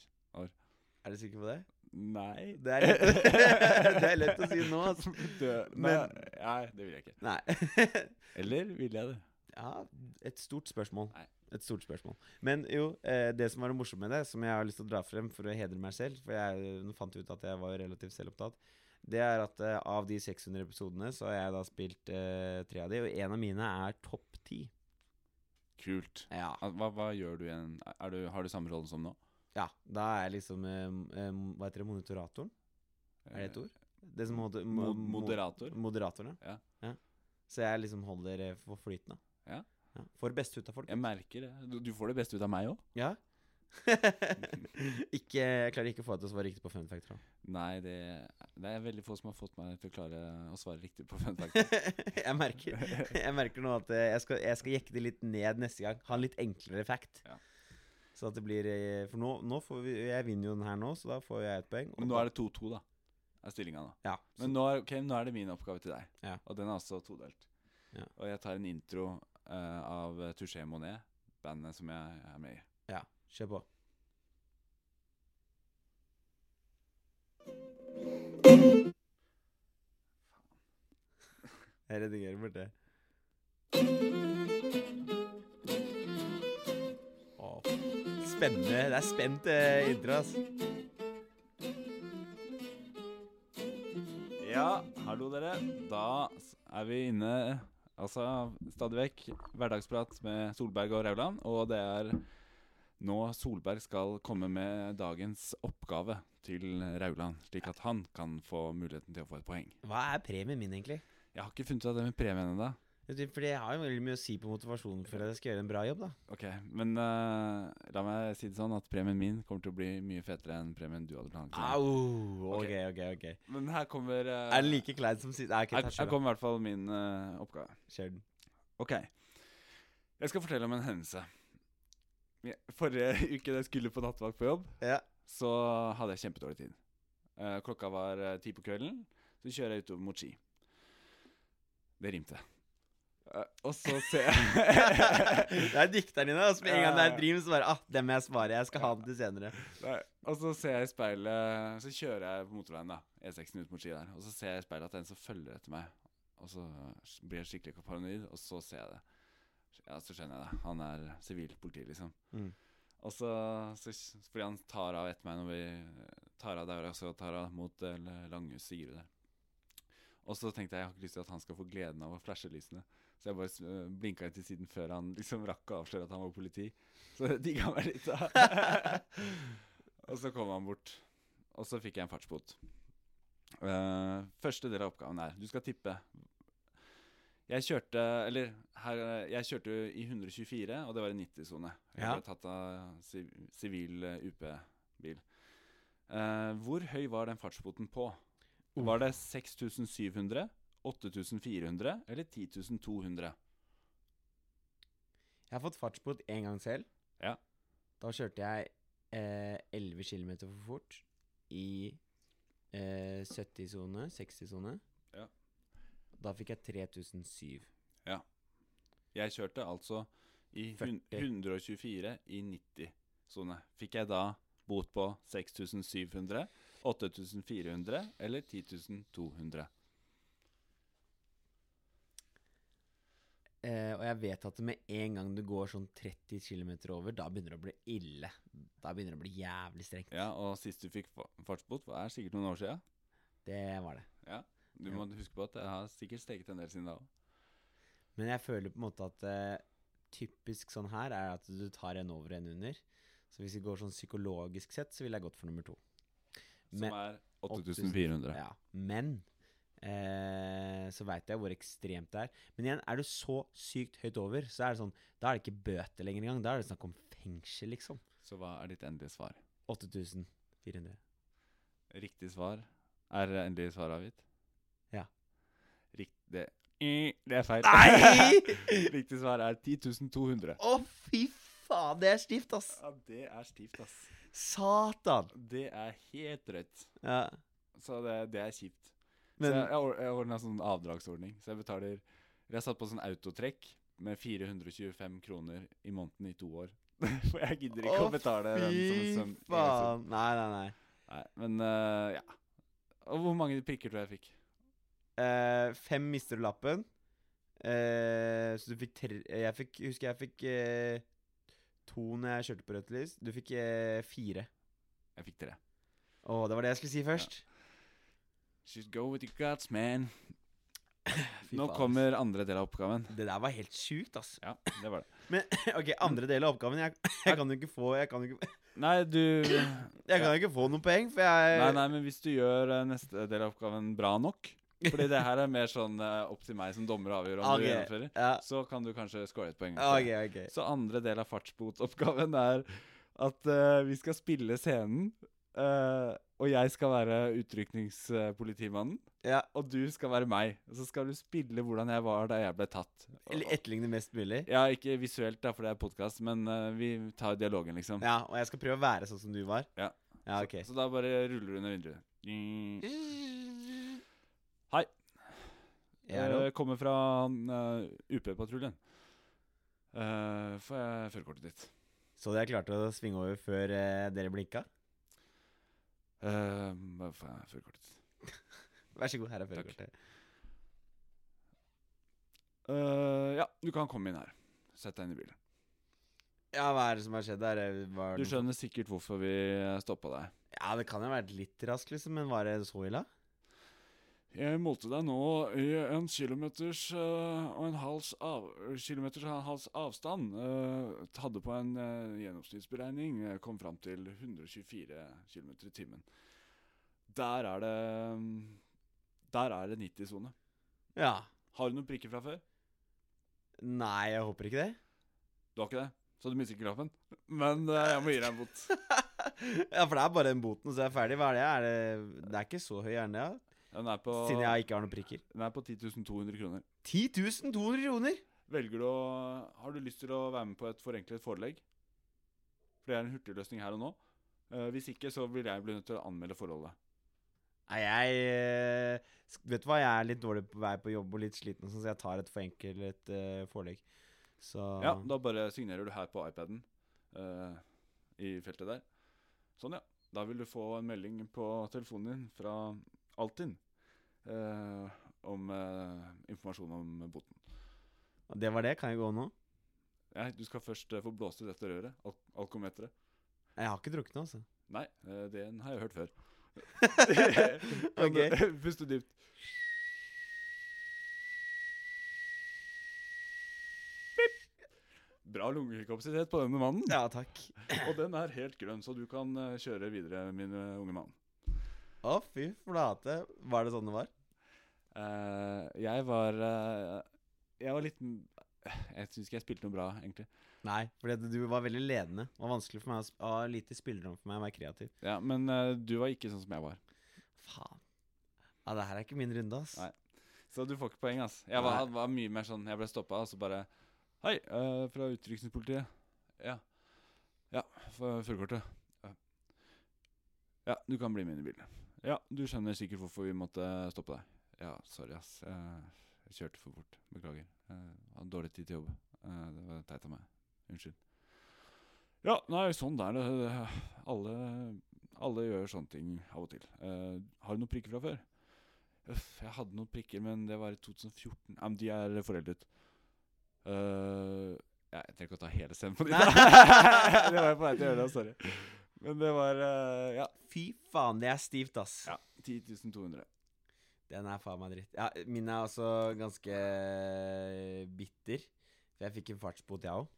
S1: er du sikker på det?
S2: <laughs> Nei.
S1: Det <laughs> er lett, det er lett å si nå, ass.
S2: Dø. Nei,
S1: Men-
S2: nei, det vil jeg ikke.
S1: Nei. <laughs>
S2: Eller vil jeg det?
S1: Ja, et stort spørsmål.
S2: Nei.
S1: Et stort spørsmål. Men jo, eh, det som var det morsomme med det, som jeg har lyst til å dra frem for å hedre meg selv, for jeg eh, fant ut at jeg var relativt selvopptatt, det er at eh, av de 600 episodene så har jeg da spilt eh, tre av de, og en av mine er topp ti.
S2: Kult.
S1: Ja.
S2: Al- Hva, hva gjør du igjen? Er du, har du samme rollen som nå?
S1: ja. Da er jeg liksom eh, m- eh, Hva heter det? Monitoratoren? Er det et ord? Det som moder,
S2: Eh,
S1: mo-
S2: Mo
S1: mo-
S2: moderator?
S1: Moderatoren,
S2: Ja.
S1: Så jeg liksom holder eh, for flyten, da.
S2: Ja.
S1: Får best ut av folk.
S2: Jeg merker det. Du, du får det beste ut av meg òg.
S1: Ja. <laughs> ikke, jeg klarer ikke å få deg til å svare riktig på fun fact. Trond.
S2: Nei, det, det er veldig få som har fått meg til å klare å svare riktig på fun fact.
S1: <laughs> jeg, <laughs> merker, jeg merker nå at eh, jeg skal, jeg skal jekke det litt ned neste gang. Ha en litt enklere fact.
S2: Ja.
S1: Så at det blir eh, For nå, nå får vi Jeg vinner jo den her nå, så da får jeg et poeng.
S2: Men nå er det 2-2, da. Er stillinga nå.
S1: ja, så,
S2: Men nå er, ok, nå er det min oppgave til deg.
S1: Ja.
S2: Og den er også todelt.
S1: Ja.
S2: Og jeg tar en intro eh, av Touché Monet, bandet som jeg er med i.
S1: ja, kjør på. <laughs> Jeg redigerer bort det. Å, Spennende. Det er spent eh, intro, ass.
S2: Ja, hallo dere. Da s- er vi inne, altså stadig vekk, hverdagsprat med Solberg og Rauland. Og det er nå Solberg skal komme med dagens oppgave til Rauland, slik at han kan få muligheten til å få et poeng.
S1: Hva er premien min, egentlig?
S2: Jeg har ikke funnet ut av det med premien ennå.
S1: Vet du, For det har jo veldig mye å si på motivasjonen for at jeg skal gjøre en bra jobb, da.
S2: Ok, men eh, la meg si det sånn at premien min kommer til å bli mye fetere enn premien du hadde planlagt. til meg.
S1: Au! Ok, ok, ok.
S2: Men her kommer eh,
S1: Er den like klein som sist? Nei, ok,
S2: her,
S1: ta
S2: her
S1: kjør,
S2: kommer i hvert fall min eh, oppgave.
S1: da. Kjør den.
S2: Ok. Jeg skal fortelle om en hendelse. Jeg- Forrige <laughs> uke da jeg skulle på nattevakt på jobb,
S1: Ja.
S2: så hadde jeg kjempedårlig tid. Eh, klokka var eh, ti på kvelden, så kjører jeg utover mot Ski. Det rimte. Eh, og så ser
S1: <laughs>
S2: jeg <laughs>
S1: det er dikteren din, altså. Med en gang det er et rim, så bare ah, det må jeg svare. Jeg skal ha den til senere.
S2: Nei, og så ser jeg i speilet Så kjører jeg på motorveien da E6 ut mot Ski der Og så ser jeg i speilet at det er en som følger etter meg Og så blir jeg skikkelig paranoid Og så ser jeg det Ja, så skjønner jeg det Han er sivil politi liksom
S1: Mm.
S2: Og så, så Fordi han tar av etter meg Når vi tar av der Og så tar av mot eh, Langhus Sigurd der Og så tenkte jeg Jeg har ikke lyst til at han skal få gleden av Å flashe lysene Så jeg bare eh, blinket litt til siden Før han liksom rakk å avsløre at han var politi <laughs> Så det digget han meg litt da <laughs> og så kom han bort, og så fikk jeg en fartsbot. Eh, første del av oppgaven er Du skal tippe. Jeg kjørte Eller her, eh, jeg kjørte jo i 124, og det var i 90-sone. Jeg
S1: Ja.
S2: ble tatt av si- sivil eh, UP-bil. Eh, hvor høy var den fartsboten på? Var det 6700, 8400 eller 10200?
S1: Jeg har fått fartsbot én gang selv.
S2: Ja.
S1: Da kjørte jeg eh, 11 km for fort i eh, 70-sone, 60-sone.
S2: Ja.
S1: Da fikk jeg 3007.
S2: Jeg kjørte altså i hun-
S1: 40.
S2: 124 i 90-sone. Fikk jeg da bot på 6700, 8400 eller 10200?
S1: eh, og jeg vet at med en gang du går sånn 30 km over, da begynner det å bli ille. Da begynner det å bli jævlig strengt.
S2: Ja, og sist du fikk fa- fartsbot, var- er sikkert noen år siden.
S1: Det var det.
S2: Du må huske på at jeg har sikkert steget en del siden da òg.
S1: Men jeg føler på en måte at eh, typisk sånn her er at du tar en over og en under. Så hvis vi går sånn psykologisk sett, så ville jeg gått for nummer to.
S2: Som
S1: Men-
S2: er 8400.
S1: Ja. Men eh, så veit jeg hvor ekstremt det er. Men igjen, er du så sykt høyt over, så er det sånn Da er det ikke bøter lenger engang. Da er det snakk om fengsel, liksom.
S2: Så hva er ditt endelige svar?
S1: 8400.
S2: Riktig svar er endelig svar avgitt?
S1: Ja.
S2: Rikt- det, I, det er feil.
S1: <laughs> Nei!
S2: <laughs> Riktig svar er 10.200.
S1: Å, fy faen, det er stivt, ass!
S2: Ja, det er stivt, ass.
S1: Satan!
S2: Det er helt rødt.
S1: Ja,
S2: Så det, det er kjipt.
S1: men
S2: så jeg, jeg or- jeg ordna sånn avdragsordning. Så jeg betaler Jeg satt på sånn autotrekk med 425 kroner i måneden i to år. <laughs> For jeg gidder ikke å betale den som en sum.
S1: Fy faen! Nei, nei, nei.
S2: Nei, men eh, ja. Og hvor mange prikker tror du jeg fikk?
S1: Eh, fem mister du lappen. Eh, så du fikk tre Jeg fikk, husker jeg fikk eh, to når jeg kjørte på rødt lys. Du fikk eh, fire.
S2: Jeg fikk tre.
S1: Å, det var det jeg skulle si først.
S2: Just go with your guts, man.
S1: Fy
S2: Nå
S1: faen, ass.
S2: kommer andre del av oppgaven.
S1: Det der var helt sjukt, ass. <laughs>
S2: Ja, det var det.
S1: Men OK, andre del av oppgaven.
S2: <laughs>
S1: Jeg, jeg kan jo ikke få Jeg kan jo ikke, <laughs>
S2: Nei, du
S1: jeg kan jo ikke få noen poeng, for jeg
S2: Nei, nei, men hvis du gjør eh, neste del av oppgaven bra nok Fordi det her er mer sånn eh, opp til meg som dommer å avgjøre om
S1: Ok,
S2: du gjennomfører.
S1: Ja.
S2: Så kan du kanskje score et poeng. for
S1: OK,
S2: det.
S1: OK.
S2: Så andre del av fartsbotoppgaven er at eh, vi skal spille scenen, eh, og jeg skal være utrykningspolitimannen,
S1: Ja.
S2: og du skal være meg. Og så skal du spille hvordan jeg var da jeg ble tatt. Og-
S1: Eller etterligne mest mulig.
S2: Ja, ikke visuelt, da, for det er podkast, men eh, vi tar dialogen, liksom.
S1: Ja, og jeg skal prøve å være sånn som du var.
S2: Ja.
S1: Ja, OK.
S2: Så da bare ruller du under vinduet. Mm. Hei.
S1: Jeg er opp.
S2: Jeg Eh, kommer fra eh, UP-patruljen. Eh, får jeg førerkortet ditt?
S1: Så jeg klarte å svinge over før eh, dere blinka?
S2: Eh, hva får jeg førerkortet ditt?
S1: Vær så god, her er
S2: Takk.
S1: førerkortet.
S2: Eh, ja, du kan komme inn her. Sett deg inn i bilen.
S1: Ja, hva er det som har skjedd der? Eh, Var
S2: Du
S1: det noe-
S2: skjønner sikkert hvorfor vi stoppa deg.
S1: Ja, det kan jo ha vært litt rask, liksom, men var det så ille?
S2: Jeg målte deg nå i en kilometers eh, og en halvs av, kilometers og en halvs avstand. eh, hadde på en eh, gjennomsnittsberegning eh, kom fram til 124 km i timen. Der er det mm, Der er det 90-sone.
S1: Ja.
S2: Har du noen prikker fra før?
S1: Nei, jeg håper ikke det. <laughs>
S2: Du har ikke det, så du mister ikke lappen. Men eh, jeg må gi deg en bot.
S1: ja, for det er bare den boten, så er jeg ferdig. Hva er det? Er det, det er ikke så høy gjerne, ja.
S2: Den er på,
S1: <laughs> Siden jeg ikke har noen prikker.
S2: den er på 10 200 kroner.
S1: 10 200 kroner!
S2: Velger du å Har du lyst til å være med på et forenklet forelegg? For det er en hurtigløsning her og nå. Eh, hvis ikke, så vil jeg bli nødt til å anmelde forholdet.
S1: Nei, jeg eh, sk- Vet du hva, jeg er litt dårlig på vei på jobb og litt sliten, og sånn, så jeg tar et forenklet eh, forelegg. Så
S2: Ja, Da bare signerer du her på iPaden eh, i feltet der. Sånn, ja. Da vil du få en melding på telefonen din fra Altinn eh, om eh, informasjon om boten.
S1: Det var det. Kan jeg gå nå?
S2: Nei, du skal først eh, få blåst i dette røret. Al alkometeret.
S1: Jeg har ikke drukket nå, altså.
S2: Nei, eh, den har jeg hørt før. <laughs>
S1: Ok.
S2: Men, eh, Puste dypt. Bra lungekapasitet på denne mannen.
S1: Ja, takk.
S2: Og den er helt grønn, så du kan eh, kjøre videre, min eh, unge mann.
S1: Å, fy flate. Var det sånn det var?
S2: Eh, jeg var eh, Jeg var litt m- <sighs> Jeg syns ikke jeg spilte noe bra, egentlig.
S1: Nei, fordi at du var veldig ledende. Det var vanskelig for meg å sp- ha lite spillerom for meg å være kreativ.
S2: Ja, Men eh, du var ikke sånn som jeg var.
S1: Faen. Ja, det her er ikke min runde, ass.
S2: Nei. Så du får ikke poeng, ass. Jeg var,
S1: Nei.
S2: var mye mer sånn Jeg ble stoppa, og så bare Hei, eh, fra utrykningspolitiet. Ja. Ja, for- førerkortet. Ja. ja, du kan bli med inn i bilen. Ja, du skjønner sikkert hvorfor vi måtte stoppe deg. Ja, sorry, ass. Eh, Jeg kjørte for fort. Beklager. Eh, hadde dårlig tid til jobb. Eh, det var teit av meg. Unnskyld. Ja, nei, sånn er det. Alle, alle gjør sånne ting av og til. Eh, har du noen prikker fra før? Uff, jeg hadde noen prikker, men det var i 2014. Ja, men de er foreldet. Eh, jeg trenger ikke å ta hele scenen på ditt.
S1: Nei.
S2: <laughs> det var jeg på vei til å gjøre, da, sorry. Men det var eh, ja,
S1: Fy faen, det er stivt, ass.
S2: ja 10.200.
S1: Den er faen meg dritt. Ja, min er også ganske eh, bitter. For jeg fikk en fartsbot, jeg òg.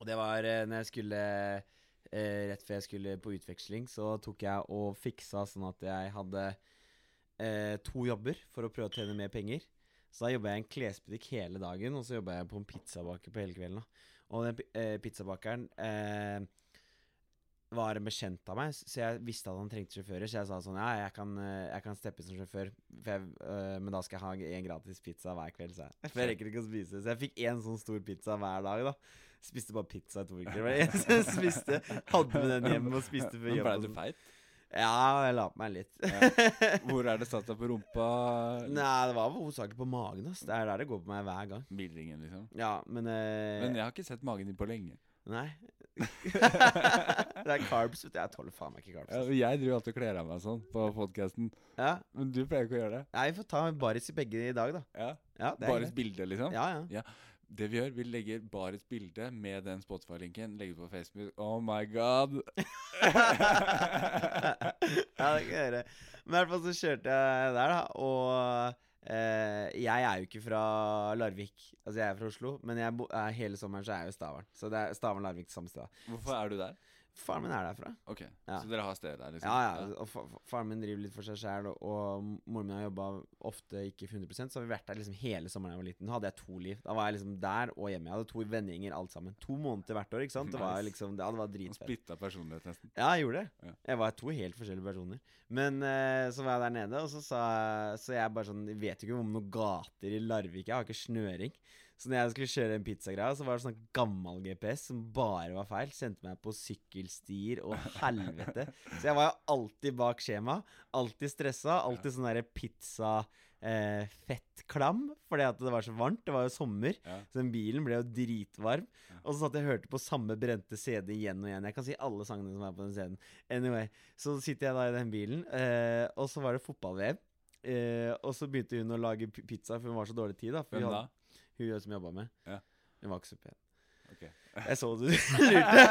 S1: Og det var eh, når jeg skulle eh, Rett før jeg skulle på utveksling, så tok jeg og fiksa sånn at jeg hadde eh, to jobber for å prøve å tjene mer penger. Så da jobba jeg i en klesbutikk hele dagen, og så jobba jeg på en pizzabaker på hele kvelden. da. Og den pi- eh, pizzabakeren eh, var en bekjent av meg, s- så jeg visste at han trengte sjåfører. Så jeg sa sånn Ja, jeg kan, eh, jeg kan steppe inn som sjåfør, for jeg, eh, men da skal jeg ha en gratis pizza hver kveld, sa jeg. For jeg rekker ikke å spise. Så jeg fikk én sånn stor pizza hver dag, da. Spiste bare pizza i to uker. Det var det eneste jeg spiste. Hadde med den hjem og spiste før
S2: Men
S1: jobb.
S2: Ble
S1: og
S2: du
S1: sånn.
S2: feit?
S1: Ja, jeg la på meg litt.
S2: Hvor er det satt deg på rumpa?
S1: Nei, det var hovedsakelig på magen, ass. Det er der det går på meg hver gang.
S2: Bildringen, liksom.
S1: Ja, men, eh,
S2: Men jeg har ikke sett magen din på lenge. <laughs>
S1: Nei. det er carbs, vet du. Jeg tåler faen meg ikke carbs.
S2: Ja,
S1: ass.
S2: og jeg driver alltid og kler av meg sånn på podkasten,
S1: Ja.
S2: men du pleier ikke å gjøre det.
S1: Nei, vi får ta baris i begge i dag, da.
S2: Ja.
S1: Ja, det er
S2: Bare
S1: greit.
S2: bilde, liksom.
S1: Ja, ja. <laughs>
S2: Det vi gjør, vi legger bare et bilde med den Spotify-linken. Legger det på Facebook. Oh
S1: <laughs>
S2: my god!
S1: ja, det kan jeg gjøre. Men i hvert fall så kjørte jeg der, da. Og eh, jeg er jo ikke fra Larvik. Altså, jeg er fra Oslo, men jeg bo eh, hele sommeren så er jeg jo i Stavern. Så det er Stavern-Larvik samme sted.
S2: Hvorfor er du der?
S1: Faren min er derfra.
S2: Ok,
S1: Ja.
S2: Så dere har stedet der, liksom?
S1: Ja, ja. Og fa fa- faren min driver litt for seg sjæl, og, og moren min har jobba ofte ikke 100 så har vi vært der liksom hele sommeren da jeg var liten. Nå hadde jeg to liv. Da var jeg liksom der og hjemme. Jeg hadde to vennegjenger alt sammen. To måneder hvert år, ikke sant. Det var
S2: Nice.
S1: liksom Ja, det var
S2: Og
S1: dritfett.
S2: Splitta personlighet, nesten.
S1: <laughs> Ja, jeg gjorde det.
S2: Ja.
S1: Jeg var to helt forskjellige personer. Men eh, så var jeg der nede, og så sa jeg Så jeg bare sånn jeg Vet jo ikke om noen gater i Larvik. Jeg har ikke snøring. Så når jeg skulle kjøre en pizzagreie, så var det sånn gammel GPS som bare var feil. Sendte meg på sykkelstier og helvete. Så jeg var jo alltid bak skjema. Alltid stressa. Alltid sånn derre pizza eh, fettklam, fordi at det var så varmt. Det var jo sommer.
S2: Ja.
S1: Så den bilen ble jo dritvarm.
S2: Ja.
S1: Og så satt jeg og hørte på samme brente CD igjen og igjen. Jeg kan si alle sangene som er på den CD-en. Anyway, så sitter jeg da i den bilen, eh, og så var det fotball-VM. Eh, og så begynte hun å lage p- pizza, for hun var så dårlig tid. da for vi
S2: Hvem da?
S1: hadde- Hun som jobba med.
S2: Ja.
S1: Hun var ikke så pen.
S2: Ok.
S1: Jeg så <laughs> du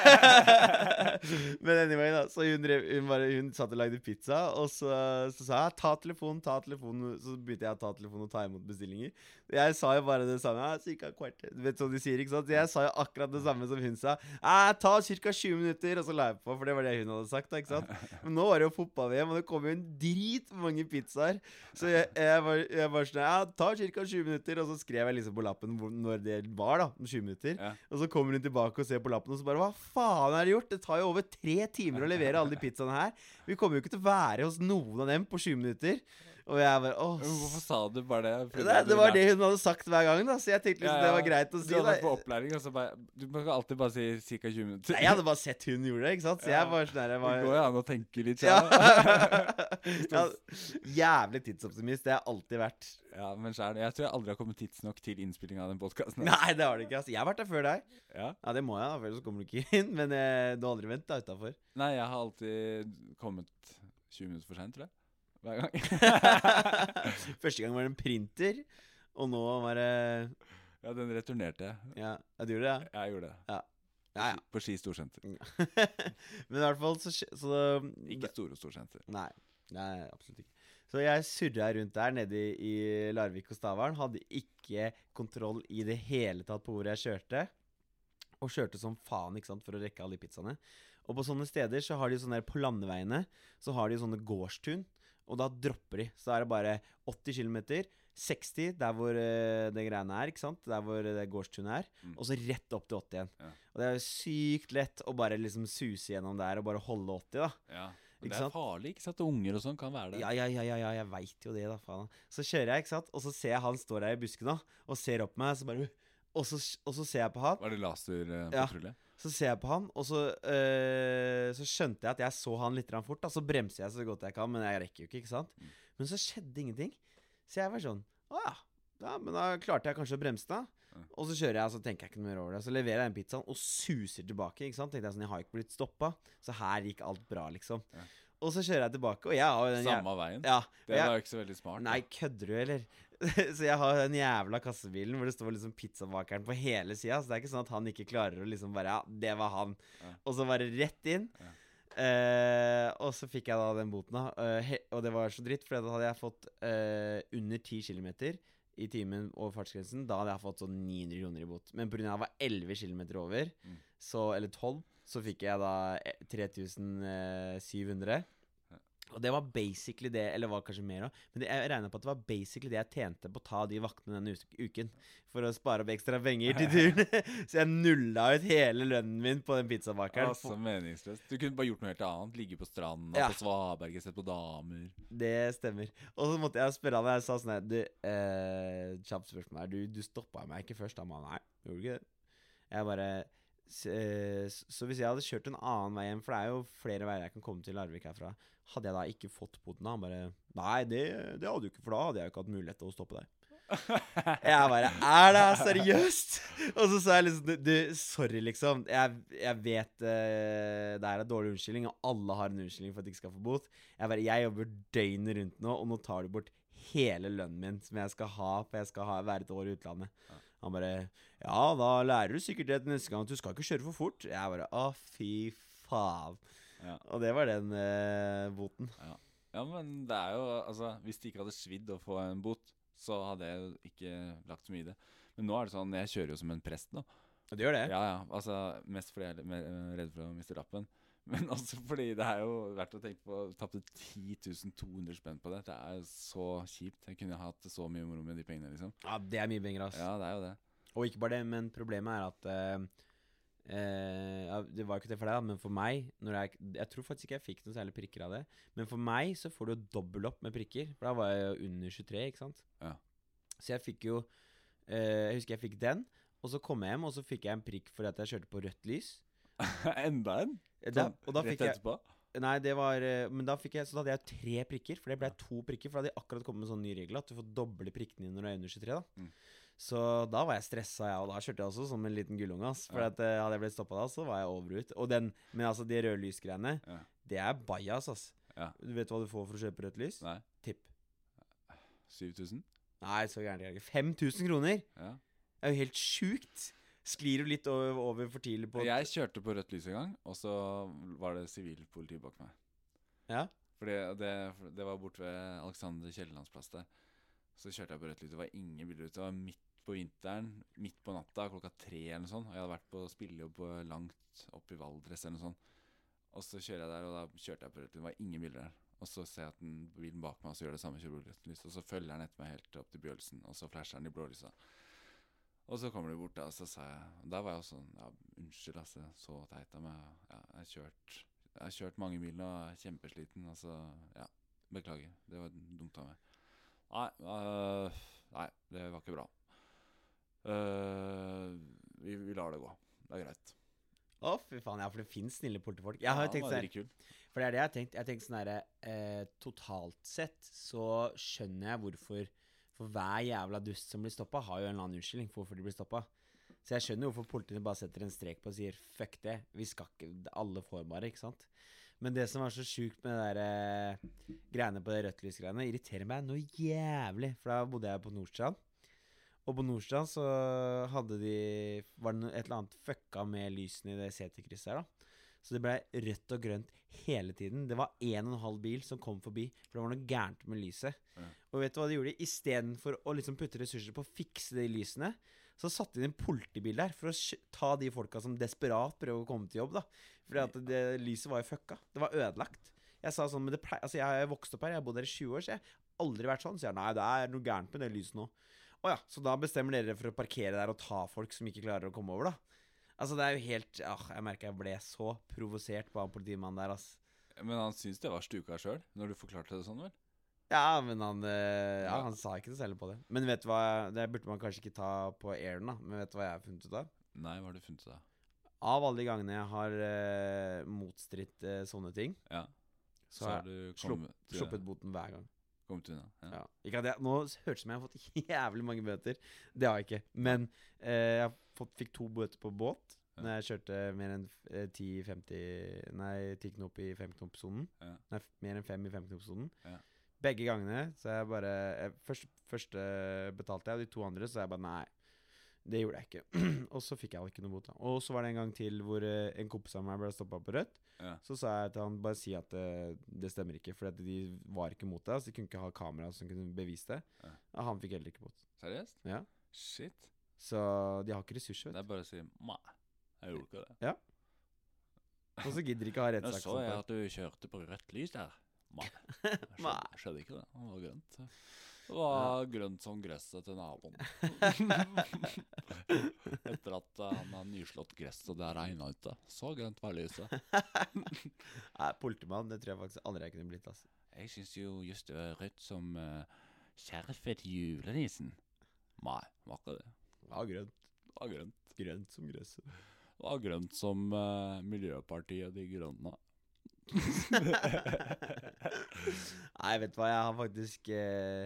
S1: lurte. <laughs> Men anyway, da. Så hun, drev, hun, bare, hun satt og lagde pizza, og så, så sa jeg 'ta telefonen', ta telefonen. Så begynte jeg å ta telefonen og ta imot bestillinger. Jeg sa jo bare det samme. «Ja, cirka et kvarter. Du vet sånn de sier, ikke sant? Så jeg sa jo akkurat det samme som hun sa. «Ja, 'Ta ca. 20 minutter', og så la jeg på, for det var det hun hadde sagt. da, ikke sant? Men nå var det jo fotball-VM, og det kom jo en dritmange pizzaer. Så jeg, jeg, var, jeg var sånn Ja, ta ca. 20 minutter. Og så skrev jeg liksom på lappen hvor, når det var, da. om 20 minutter.
S2: Ja.
S1: Og så kommer hun tilbake og ser på lappen, og så bare Hva faen er det gjort? Det tar jo over tre timer å levere alle de pizzaene her. Vi kommer jo ikke til å være hos noen av dem på 20 minutter. Og jeg bare Åh.
S2: Men Hvorfor sa du bare det? Fordi
S1: Det,
S2: at
S1: det
S2: du
S1: var
S2: lærte-
S1: det hun hadde sagt hver gang, da, så jeg tenkte liksom
S2: Ja, ja.
S1: det var greit å si.
S2: Du hadde vært på
S1: da.
S2: opplæring, og så bare Du kan alltid bare si ca. 20 minutter.
S1: Nei, jeg hadde bare sett hun gjorde det, ikke sant. Så jeg
S2: Ja.
S1: var sånn der jeg
S2: <laughs> Det
S1: var,
S2: går jo an å tenke litt.
S1: ja.
S2: <laughs> Ja.
S1: ja. <laughs> Jævlig tidsoptimist. Det har jeg alltid vært.
S2: ja, men skjær. Jeg tror jeg aldri har kommet tidsnok til innspilling av den podkasten.
S1: Nei, det har du ikke. Altså. Jeg har vært der før deg.
S2: Ja.
S1: Ja, det må jeg, da, for ellers kommer du ikke inn. Men eh, du har aldri ventet deg utafor.
S2: Nei, jeg har alltid kommet 20 minutter for seint, tror jeg. Hver gang.
S1: <laughs> Første gang var det en printer, og nå var det
S2: Ja, den returnerte jeg.
S1: Ja, ja du gjorde det,
S2: Jeg gjorde det.
S1: ja? Ja, <laughs>
S2: På Ski storsenter.
S1: ja. Men i hvert fall så, skj- så det-
S2: Ikke Store storsenter.
S1: Nei, nei, absolutt ikke. Så jeg surra rundt der nede i i Larvik og Stavern. Hadde ikke kontroll i det hele tatt på hvor jeg kjørte. Og kjørte som faen ikke sant, for å rekke alle de pizzaene. Og på sånne steder så har de sånne der, på landeveiene så har de sånne gårdstun. Og da dropper de. Så da er det bare 80 km. 60 der hvor eh, det greiene er, ikke sant? der hvor det gårdstunet er.
S2: Mm.
S1: Og så rett opp til 80 igjen.
S2: Ja.
S1: Og det er jo sykt lett å bare liksom suse gjennom der og bare holde 80, da.
S2: Ja.
S1: Ikke
S2: Men det
S1: sant?
S2: er farlig, ikke sant? Unger og sånn kan være det.
S1: Ja, ja, ja, ja, ja jeg veit jo det, da, faen. Så kjører jeg, ikke sant, og så ser jeg han står der i busken da, og ser opp på meg, så bare og så, og så ser jeg på han,
S2: Var det eh,
S1: Ja.
S2: laserpatrulje?
S1: så ser jeg på han, og så, øh, så skjønte jeg at jeg så han litt grann fort. Da. Så bremser jeg så godt jeg kan, men jeg rekker jo ikke. ikke sant?
S2: Mm.
S1: Men så skjedde ingenting. Så jeg var sånn Å ja. ja men da klarte jeg kanskje å bremse, da.
S2: Ja.
S1: Og så kjører jeg, og så tenker jeg ikke noe mer over det. Så leverer jeg den pizzaen og suser tilbake. ikke sant? Tenkte jeg sånn, jeg har ikke blitt stoppa, så her gikk alt bra, liksom.
S2: Ja.
S1: Og så kjører jeg tilbake, og jeg har jo den jæv-
S2: Samme veien?
S1: Ja, og
S2: Det
S1: jeg-
S2: var jo ikke så veldig smart. da.
S1: Nei, kødder du, eller? <laughs> Så jeg har den jævla kassebilen hvor det står liksom pizzabakeren på hele sida. Så det er ikke sånn at han ikke klarer å liksom bare Ja, det var han.
S2: Ja.
S1: Og så bare rett inn.
S2: Ja.
S1: Eh, og så fikk jeg da den boten, da. Eh, he og det var så dritt, for da hadde jeg fått eh, under 10 km i timen over fartsgrensen. Da hadde jeg fått sånn 900 kroner i bot. Men pga. at jeg var 11 km over,
S2: Mm.
S1: så, eller 12, så fikk jeg da eh, 3700.
S2: Ja.
S1: Og det var basically det, eller var kanskje mer òg, men det, jeg regna på at det var basically det jeg tjente på å ta de vaktene denne us- uken. For å spare opp ekstra penger til turen. <laughs> så jeg nulla ut hele lønnen min på den pizzabakeren.
S2: Altså, meningsløst. Du kunne bare gjort noe helt annet. Ligge på stranda,
S1: Ja.
S2: på svaberget, sett på damer.
S1: Det stemmer. Og så måtte jeg spørre han, og jeg sa sånn her Du, eh, kjapt spørsmål her. Du, du stoppa meg ikke først? Han ba nei, gjorde du ikke det? Jeg bare «S- eh, s- Så hvis jeg hadde kjørt en annen vei hjem, for det er jo flere veier jeg kan komme til Larvik herfra, hadde jeg da ikke fått boten? Han bare Nei, det, det hadde du ikke, for da hadde jeg jo ikke hatt mulighet til å stoppe deg. Jeg bare Er det her seriøst?! Og så sa jeg liksom Du, du sorry, liksom. Jeg, jeg vet eh, det her er dårlig unnskyldning, og alle har en unnskyldning for at de ikke skal få bot. Jeg bare, jeg jobber døgnet rundt nå, og nå tar du bort hele lønnen min som jeg skal ha, for jeg skal ha, være et år i utlandet.
S2: Ja.
S1: Han bare, ja, da lærer du sikkert det til neste gang, at du skal ikke kjøre for fort. Jeg bare, å fy faen.
S2: Ja.
S1: Og det var den eh, boten.
S2: Ja, men det er jo Altså, hvis det ikke hadde svidd å få en bot, så hadde jeg jo ikke lagt så mye i det. Men nå er det sånn, jeg kjører jo som en prest nå.
S1: Og det gjør det?
S2: Ja, ja. Altså, mest fordi jeg er mer- eh, redd for å miste lappen. <laughs> Men også fordi det er jo verdt å tenke på Tapte 10 200 spenn på det. Det er jo så kjipt. Jeg kunne hatt så mye moro med de pengene, liksom.
S1: Ja, det er mye penger, ass.
S2: Ja, det er jo det. <laughs>
S1: Og ikke bare det, men problemet er at eh, eh, ja, Det var jo ikke det for deg, da, men for meg når jeg, jeg tror faktisk ikke jeg fikk noen særlig prikker av det. Men for meg så får du jo dobbel opp med prikker, for da var jeg jo under 23, ikke sant?
S2: Ja.
S1: Så jeg fikk jo eh, Jeg husker jeg fikk den, og så kom jeg hjem, og så fikk jeg en prikk fordi at jeg kjørte på rødt lys.
S2: Enda en?
S1: Eh, Da,
S2: Sånn,
S1: og da
S2: rett
S1: fikk jeg
S2: etterpå?
S1: Nei, det var eh, Men da fikk jeg Så da hadde jeg tre prikker, for det ble to prikker. For da hadde de akkurat kommet med en sånn ny regel at du får doble prikkene dine når du er under 23. da
S2: Mm.
S1: Så da var jeg stressa, jeg, og da kjørte jeg også som en liten gullunge. ass For
S2: Ja.
S1: at, eh, hadde jeg blitt stoppa da, så var jeg over ut. Og den, men altså, de røde lysgreiene,
S2: Ja.
S1: det er bajas, ass.
S2: Ja.
S1: Du vet hva du får for å kjøpe rødt lys?
S2: Nei.
S1: Tipp.
S2: 7000?
S1: Nei, så gærent er det ikke. 5000 kroner!
S2: Ja.
S1: Det er jo helt sjukt! Sklir jo litt over, over for tidlig på
S2: Jeg kjørte på rødt lys en gang, og så var det sivilpoliti bak meg.
S1: Ja.
S2: Fordi det, det var borte ved Alexander Kiellands plass der. Så kjørte jeg på rødt lys. Det var ingen biler ute. Det var midt på vinteren, midt på natta, klokka tre eller noe sånt. Og jeg hadde vært på spillejobb på langt opp i Valdres eller noe sånt. Og så kjører jeg der, og da kjørte jeg på rødt lys. Det var ingen biler der. Og så ser jeg at den bilen bak meg også gjør det samme, kjører på rødt lys. Og så følger den etter meg helt opp til Bjølsen, og så flasher den i blålysa. Og så kommer de bort, da, og så sa jeg og Da var jeg også sånn Ja, unnskyld, altså. Så teit av meg. Ja, jeg har kjørt Jeg har kjørt mange mil nå, jeg er kjempesliten. Altså, ja. Beklager. Det var dumt av meg. Nei, øh, nei det var ikke bra. Øh, vi, vi lar det gå. Det er greit.
S1: Å, fy faen, ja, for det fins snille politifolk. Jeg har jo tenkt
S2: det
S1: sånn
S2: var dritkul.
S1: For det er det jeg har tenkt. Jeg har tenkt sånn herre eh, Totalt sett så skjønner jeg hvorfor For hver jævla dust som blir stoppa, har jo en eller annen unnskyldning for hvorfor de blir stoppa. Så jeg skjønner jo hvorfor politiet bare setter en strek på og sier fuck det, vi skal ikke Alle får bare, ikke sant? Men det som var så sjukt med det der eh, greiene på det rødt lys-greiene, irriterer meg noe jævlig. For da bodde jeg på Nordstrand. Og på Nordstrand så hadde de Var det noe- et eller annet fucka med lysene i det seterkrysset her, da. Så det ble rødt og grønt hele tiden. Det var en og en halv bil som kom forbi, for det var noe gærent med lyset.
S2: Ja.
S1: Og vet du hva de gjorde? Istedenfor å liksom putte ressurser på å fikse de lysene, så satte de inn en politibil der for å skj- ta de folka som desperat prøver å komme til jobb, da. Fordi at det, lyset var jo fucka. Det var ødelagt. Jeg sa sånn, men det pleier Altså, jeg har vokst opp her, jeg har bodd her i 20 år, så jeg har aldri vært sånn. Så jeg nei, det er noe gærent med det lyset nå. Å ja, så da bestemmer dere for å parkere der og ta folk som ikke klarer å komme over, da. Altså, det er jo helt ah, Jeg merka jeg ble så provosert på han politimannen der, ass.
S2: Men han syntes det var stuka sjøl, når du forklarte det sånn, vel?
S1: Ja, men han eh, Ja,
S2: Ja.
S1: han sa ikke noe særlig på det. Men vet du hva Det burde man kanskje ikke ta på airen, da. Men vet du hva jeg har funnet ut av?
S2: Nei, hva har du funnet ut av?
S1: Av alle de gangene jeg har eh, motstridt eh, sånne ting,
S2: Ja.
S1: så,
S2: Så eh,
S1: har
S2: har
S1: jeg
S2: du
S1: slupp-
S2: kommet,
S1: sluppet boten hver gang.
S2: kommet unna? Ja.
S1: Ja. Ikke at jeg, nå s- hørtes det som jeg har fått <laughs> jævlig mange bøter. Det har jeg ikke. Men eh, jeg fått, fikk to bøter på båt
S2: Ja.
S1: Når jeg kjørte mer enn eh, 10-50 Nei, 10 knop i 5-knop-sonen.
S2: Ja.
S1: Nei, f- mer enn 5 i 5-knop-sonen.
S2: Ja.
S1: Begge gangene. Så jeg bare jeg, først, Første betalte jeg, og de to andre så jeg bare nei. Det gjorde jeg ikke. <clears throat> og så fikk jeg jo ikke noe bot. da. Og så var det en gang til hvor eh, en kompis av meg ble stoppa på rødt.
S2: Ja.
S1: Så sa jeg til han bare si at det, det stemmer ikke, for de var ikke mot deg. Så de kunne ikke ha kamera som kunne bevise det.
S2: Ja.
S1: Og han fikk heller ikke bot.
S2: Seriøst?
S1: Ja.
S2: Shit.
S1: Så de har ikke ressurser, vet
S2: Det
S1: du.
S2: er bare å si nei. Jeg gjorde ikke det.
S1: Og så gidder de ikke ha
S2: Nå
S1: rettssak.
S2: så
S1: sånn
S2: jeg
S1: på.
S2: at du kjørte på rødt lys der.
S1: <laughs>
S2: Nei. Jeg
S1: Nei.
S2: skjønner, skjønner ikke det. Det var grønt. Det var grønt som gresset
S1: <laughs>
S2: til naboen. Etter at eh, han har nyslått gresset og det har regna ute. Så grønt var lyset.
S1: <laughs> Nei, Politimann, det tror jeg faktisk aldri jeg kunne blitt. ass.
S2: Jeg syns jo just det var rødt som uh, skjerfet til julenissen. Nei, var ikke det.
S1: Ja, grønt.
S2: Det var grønt.
S1: Grønt som gresset.
S2: Det var grønt som eh, Miljøpartiet De Grønne.
S1: <laughs> Nei, vet du hva, jeg har faktisk eh,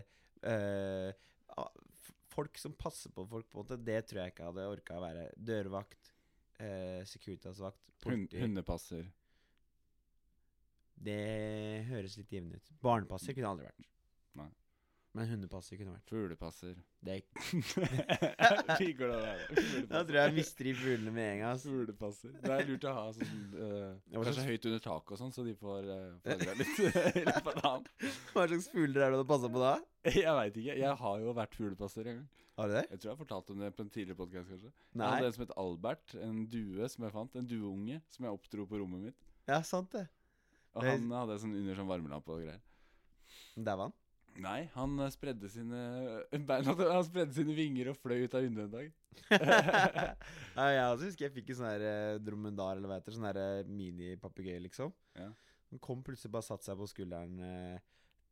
S1: eh, ah, f- Folk som passer på folk, på en måte, det tror jeg ikke jeg hadde orka å være. Dørvakt, eh, Securitas-vakt,
S2: Hun,
S1: politi.
S2: hundepasser.
S1: Det høres litt givende ut. Barnepasser kunne jeg aldri vært.
S2: Nei.
S1: Men hundepasser kunne jeg vært.
S2: Fuglepasser.
S1: <laughs> Det er ikke.
S2: Liker
S1: <laughs>
S2: du det?
S1: Da tror jeg jeg mister de fuglene med en gang. ass.
S2: Fuglepasser. Det er lurt å ha sånn <laughs> eh,
S1: Ja, hva
S2: Kanskje
S1: slags-
S2: høyt under taket og sånn, så de får uh, flagra litt <laughs> i løpet av dagen.
S1: Hva slags fugler er det du har passa på da?
S2: Jeg veit ikke. Jeg har jo vært fuglepasser en gang.
S1: Har du det?
S2: Jeg tror jeg har fortalt om det på en tidligere podkast, kanskje. Jeg hadde
S1: Nei?
S2: en som het Albert, en due som jeg fant. En dueunge som jeg oppdro på rommet mitt.
S1: Ja, sant det.
S2: Og
S1: Det-
S2: han hadde jeg sånn under sånn varmelampe og greier.
S1: Der var han.
S2: Nei, han eh, spredde sine <laughs> beina Han spredde sine vinger og fløy ut av vinduet en dag.
S1: <laughs> ja, jeg også husker jeg fikk en sånn her eh, dromedar, eller hva det heter. Sånn her eh, minipapegøye, liksom.
S2: Ja.
S1: Den kom plutselig bare satte seg på skulderen eh,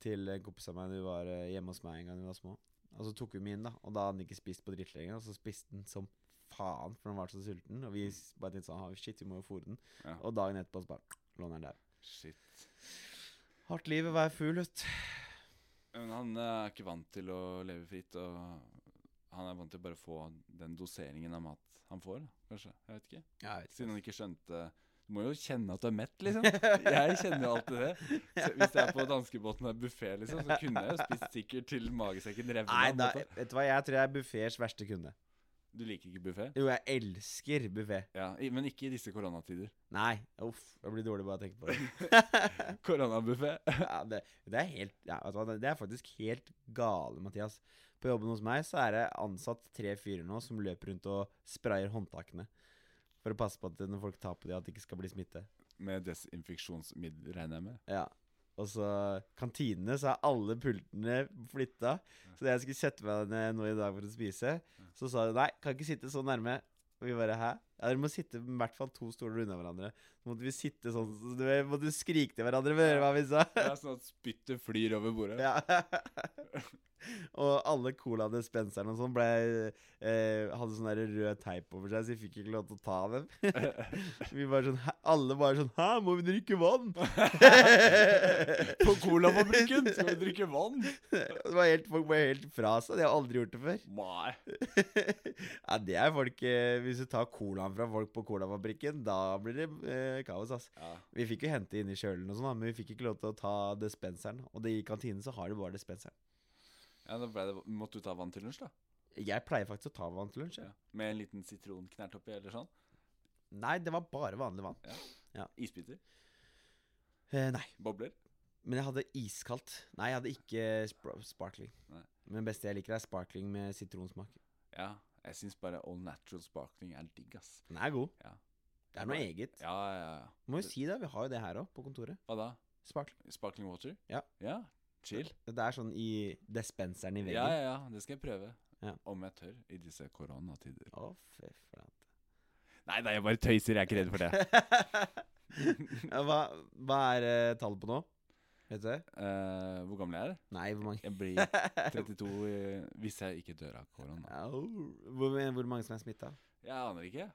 S1: til en kompis av meg da vi var eh, hjemme hos meg en gang da vi var små. Og så tok vi min, da. Og da hadde den ikke spist på drittlenge, og så spiste den som faen, for den var så sulten. Og vi s- bare tenkte sånn «Ah, Shit, vi må jo fôre den.
S2: Ja.
S1: Og dagen etterpå så bare lå den der.
S2: Shit.
S1: Hardt liv å være fugl, vet du.
S2: Men han eh, er ikke vant til å leve fritt, og han er vant til å bare få den doseringen av mat han får, da, kanskje. Jeg vet ikke.
S1: Jeg vet
S2: Siden han ikke skjønte Du må jo kjenne at du er mett, liksom. Jeg kjenner jo alltid det. Så hvis jeg er på danskebåten og er buffé, liksom, så kunne jeg jo spist sikkert til magesekken revner.
S1: Nei,
S2: på en
S1: da,
S2: måte.
S1: vet du hva, jeg tror jeg er buffers verste kunde.
S2: Du liker ikke buffé?
S1: Jo, jeg elsker buffé.
S2: Ja, i- men ikke i disse koronatider.
S1: Nei, uff, jeg blir dårlig bare av å tenke på det.
S2: Koronabuffé.
S1: Ja, det, det, er helt, ja, vet du hva, det- det er faktisk helt gale, Mathias. På jobben hos meg så er det ansatt tre fyrer nå som løper rundt og sprayer håndtakene. For å passe på at når folk tar på dem, at det ikke skal bli smitte.
S2: Med desinfeksjonsmiddel, regner jeg med.
S1: Ja. Og så kantinene, så er alle pultene flytta. Så da jeg skulle sette meg ned nå i dag for å spise, så sa de nei, kan ikke sitte så nærme. Og vi bare hæ? Ja, dere må sitte i hvert fall to stoler unna hverandre. Så måtte vi sitte sånn, så vi måtte skrike til hverandre for å høre hva vi sa.
S2: Det er sånn at spyttet flyr over bordet.
S1: Ja. <laughs> og alle colaene Spenseren og sånn ble eh, hadde sånn der rød teip over seg, så vi fikk ikke lov til å ta dem. vi bare sånn, hæ? Alle bare sånn Hæ, må vi drikke vann?
S2: På colafabrikken skal vi drikke vann.
S1: det var helt, folk ble helt fra seg. De har aldri gjort det før. <laughs>
S2: Nei.
S1: ja, det er folk eh, Hvis du tar colaen fra folk på colafabrikken, da blir det eh, kaos, ass.
S2: Ja.
S1: Vi fikk jo hente inn i kjølen og sånn, da, men vi fikk ikke lov til å ta dispenseren. Og det, i kantinen så har de bare dispenseren.
S2: Ja, da ble det, Måtte du ta vann til lunsj, da?
S1: Jeg pleier faktisk å ta vann til lunsj. jeg.
S2: Ja. Med en liten sitronknert oppi, eller sånn?
S1: Nei, det var bare vanlig vann.
S2: Isbiter?
S1: Eh, nei,
S2: Bobler?
S1: men jeg hadde iskaldt. Nei, jeg hadde ikke spr- sparkling.
S2: Nei.
S1: Men det beste jeg liker, er sparkling med sitronsmak.
S2: Ja. Jeg syns bare all natural sparkling er digg, ass.
S1: Den er god.
S2: Ja.
S1: Det er noe eget.
S2: Ja, ja, ja.
S1: Må jo si det. Vi har jo det her òg, på kontoret.
S2: Hva da?
S1: Sparkling.
S2: Sparkling water?
S1: Ja.
S2: ja. Chill.
S1: Det er sånn i dispenseren i
S2: Ja,
S1: veggen.
S2: ja, ja. Det skal jeg prøve.
S1: Ja.
S2: Om jeg tør i disse koronatider.
S1: Å, fy flate.
S2: Nei, nei, jeg bare tøyser. Jeg er ikke redd for
S1: <laughs>
S2: det.
S1: Ja, hva, hva er eh, tallet på nå? Vet du det?
S2: Eh, hvor gammel er jeg?
S1: Nei, hvor mange?
S2: Jeg blir 32 i- hvis jeg ikke dør av korona.
S1: Au. Hvor, hvor mange som er smitta?
S2: Jeg aner ikke.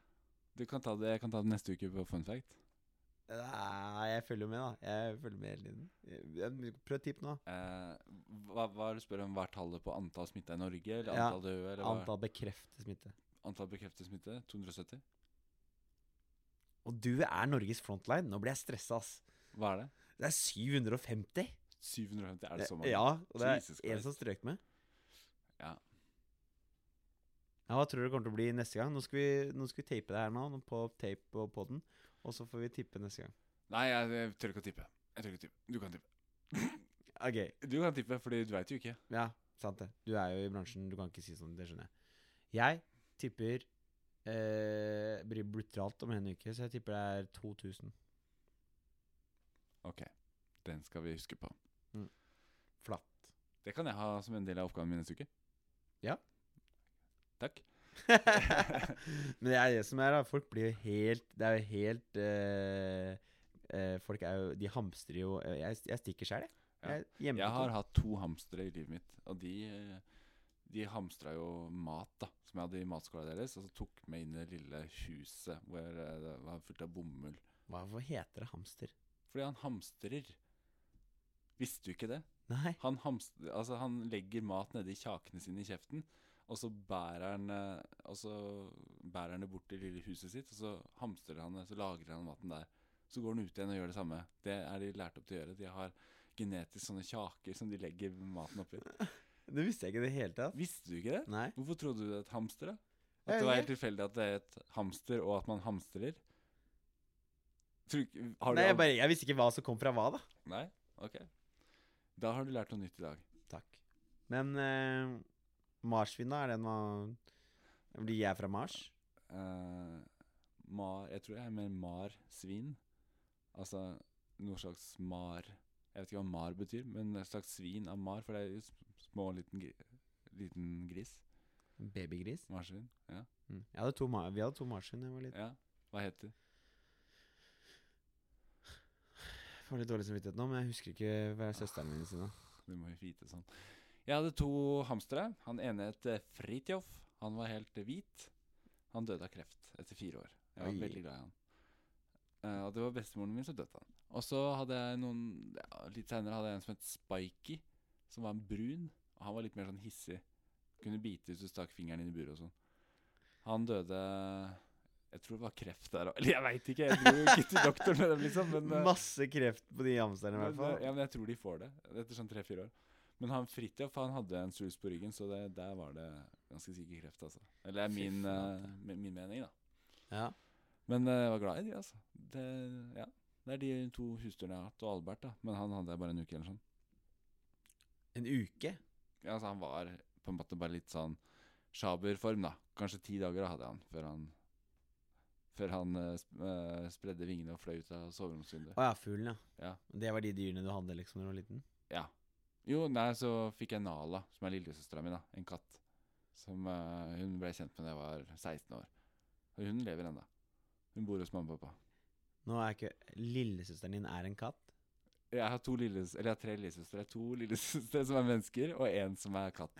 S2: Du kan ta det, jeg kan ta det neste uke på fun fact.
S1: Nei, jeg følger med, da. Jeg følger med hele tiden. Jeg- jeg- Prøv et tipp nå.
S2: Eh, hva, hva er det du spør om? Hva er tallet på antall smitta i Norge? Eller
S1: Ja.
S2: antall døde? Eller hva?
S1: Antall bekreftet smitte.
S2: Antall bekreftet smitte? 270?
S1: Og du er Norges frontline. Nå blir jeg stressa, ass.
S2: Hva er det?
S1: Det er 750!
S2: 750, er det så mange?
S1: Ja, og det
S2: Jesus
S1: er en
S2: Christ.
S1: som strøk med.
S2: Ja.
S1: Ja, Hva tror du det kommer til å bli neste gang? Nå skal vi, nå skal vi tape det her nå, nå på tape og podden. Og så får vi tippe neste gang.
S2: Nei, jeg, jeg tør ikke å tippe. Jeg tør ikke å tippe. Du kan tippe.
S1: Ok,
S2: Du kan tippe, fordi du veit jo ikke.
S1: ja, sant det. Du er jo i bransjen, du kan ikke si sånn, det skjønner jeg. Jeg tipper eh, det blir brutalt om en uke, så jeg tipper det er 2000
S2: Ok, den skal vi huske på.
S1: flatt.
S2: Det kan jeg ha som en del av oppgaven min neste uke.
S1: Ja.
S2: Takk.
S1: <laughs> Men det er det som er, da. Folk blir jo helt Det er jo helt eh, eh, Folk er jo De hamstrer jo eh, Jeg, jeg stikker sjøl, jeg.
S2: Ja.
S1: Jeg, er hjemme
S2: Jeg
S1: på
S2: har
S1: to.
S2: hatt to hamstere i livet mitt, og de, eh, de hamstra jo mat, da, som jeg hadde i matskåla deres, og så tok med inn i det lille huset hvor eh, det var fullt av bomull.
S1: Hva, hva heter det hamster?
S2: Fordi han hamstrer. Visste du ikke det?
S1: Nei.
S2: Han, hamstrer, altså han legger mat nedi kjakene sine i kjeften, og så bærer han, eh, og så bærer han det bort til det lille huset sitt, og så hamstrer han det, så lagrer han maten der. Så går han ut igjen og gjør det samme. Det er de lært opp til å gjøre. De har genetisk sånne kjaker som de legger maten oppi.
S1: Det visste jeg ikke i det hele tatt.
S2: Visste du ikke det?
S1: Nei.
S2: Hvorfor trodde du det het hamster, da? At
S1: Jeg
S2: det var
S1: vet
S2: helt tilfeldig at det het hamster, og at man hamstrer? Tror, ikke- har du
S1: Nei,
S2: al-
S1: jeg, bare, jeg visste ikke hva som kom fra hva, da.
S2: Nei? Ok. Da har du lært noe nytt i dag.
S1: Takk. Men eh, marsvin, da? Er det noe Blir jeg fra Mars?
S2: Eh, mar, jeg tror jeg er mer marsvin. Altså noe slags mar Jeg vet ikke hva mar betyr, men et slags svin av mar, for det er jo sm- små liten, gri, liten gris.
S1: Babygris?
S2: Marsvin. Ja.
S1: Mm. Jeg hadde to, ma- vi hadde to marsvin da jeg var liten.
S2: ja. Hva heter det?
S1: Jeg får litt dårlig samvittighet nå, men jeg husker ikke hva søsteren min sin. da.
S2: Du må jo vite sånn. Jeg hadde to hamstere. Han ene het eh, Fridtjof. Han var helt eh, hvit. Han døde av kreft etter fire år. Jeg var
S1: Oi.
S2: veldig glad i han. Eh, og det var bestemoren min som døde av han. Og så hadde jeg noen ja, Litt senere hadde jeg en som het Spiky, som var en brun. Og han var litt mer sånn hissig. Kunne bite hvis du stakk fingeren inn i buret og sånn. Han døde Jeg tror det var kreft der òg. Eller jeg veit ikke, jeg dro jo ikke til doktoren med dem, liksom. Men, eh,
S1: Masse kreft på de hamsterne, i
S2: men, eh,
S1: hvert fall.
S2: Ja, men jeg tror de får det etter sånn tre-fire år. Men han Fridtjof han hadde en svulst på ryggen, så det, der var det ganske sikker kreft. altså. Eller det er
S1: Fy
S2: min,
S1: flate.
S2: eh, mi- min mening, da.
S1: Ja.
S2: Men eh, jeg var glad i de, altså. Det, ja. det er de to husdyrene jeg har hatt, og Albert, da. Men han hadde jeg bare en uke eller sånn.
S1: En uke?
S2: Ja, altså, Han var på en måte bare litt sånn sjaberform, da. Kanskje ti dager da hadde jeg han før han før han eh, sp eh, spredde vingene og fløy ut av soveromsvinduet.
S1: Å ja, fuglen, ja.
S2: Ja.
S1: Det var de dyrene du hadde liksom da du var liten?
S2: Ja. Jo, nei, så fikk jeg Nala, som er lillesøstera mi, da. En katt. Som eh, hun ble kjent med da jeg var 16 år. Og hun lever ennå. Hun bor hos mamma og pappa.
S1: Nå er ikke Lillesøsteren din er en katt?
S2: Jeg har, to lilles, eller jeg har tre lillesøstre. To lillesøstre som er mennesker, og én som er katt.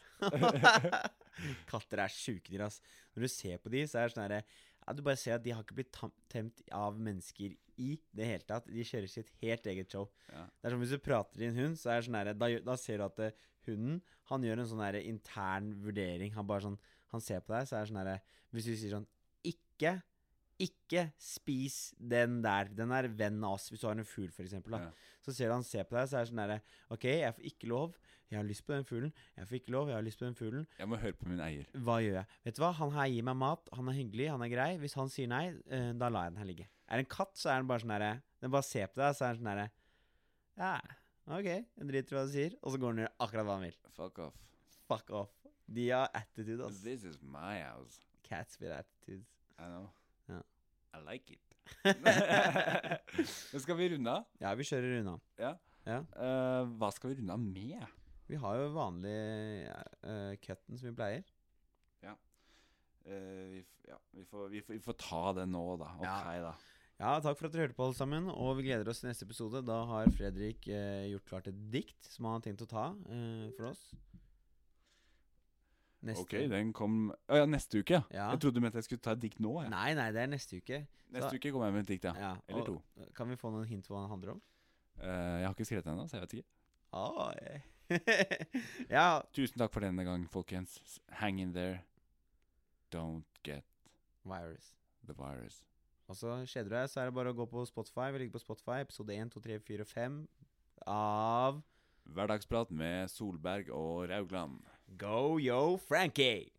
S1: <laughs> Katter er sjuke dyr, ass. Når du ser på de, så er det sånn herre ja, Du bare ser at de har ikke blitt tam temt av mennesker i det hele tatt. De kjører sitt helt eget show.
S2: Ja.
S1: Det er som hvis du prater til en hund, så er det sånn herre da, gjør- da ser du at eh, hunden Han gjør en sånn herre intern vurdering. Han bare sånn Han ser på deg, så er det sånn herre Hvis du sier sånn Ikke ikke spis den der. Den er venn av oss. Hvis du har en fugl, for eksempel, da.
S2: Ja.
S1: Så ser du han ser på deg, så er det sånn herre OK, jeg får ikke lov. Jeg har lyst på den fuglen. Jeg får ikke lov. Jeg har lyst på den fuglen.
S2: Jeg må høre på min eier.
S1: Hva gjør jeg? Vet du hva? Han her gir meg mat, han er hyggelig, han er grei. Hvis han sier nei, eh, da lar jeg den her ligge. Er det en katt, så er den bare sånn herre Den bare ser på deg, så er den sånn herre Ja, ok, jeg driter i hva du sier. Og så går den og gjør akkurat hva han vil.
S2: Fuck off.
S1: Fuck off. De har attitude, ass.
S2: This is my house.
S1: Cats with attitude.
S2: I know.
S1: Ja.
S2: I like it. <laughs> Men skal vi runde av?
S1: Ja, vi kjører unna.
S2: Eh, hva skal vi runde av med?
S1: Vi har jo vanlig uh, cutten som vi pleier.
S2: Eh, vi, f ja, vi, får, vi, får, vi får ta det nå, da. Ok,
S1: Ja.
S2: da.
S1: Ja, takk for at dere hørte på, alle sammen. Og vi gleder oss til neste episode. Da har Fredrik eh, gjort klart et dikt som han har tenkt å ta eh, for oss. Neste.
S2: Ok, den kom Å ja, neste uke, ja.
S1: Ja.
S2: Jeg trodde du mente jeg skulle ta et dikt nå. Jeg.
S1: Nei, nei, det er neste uke.
S2: Neste
S1: så-
S2: uke kommer jeg med et dikt, ja.
S1: Ja,
S2: Eller
S1: og
S2: to.
S1: Kan vi få noen hint på hva den handler om?
S2: Eh, jeg har ikke skrevet det ennå, så jeg vet ikke.
S1: Ah, eh. <laughs> ja,
S2: Tusen takk for denne gang, folkens. S- Hang in there. Don't get
S1: virus.
S2: the virus.
S1: Og så kjeder du deg, så er det bare å gå på Spotify. Vi ligger på Spotify, episode 1, 2, 3, 4 og 5 av
S2: Hverdagsprat med Solberg og Raugland.
S1: Go yo, Frankie!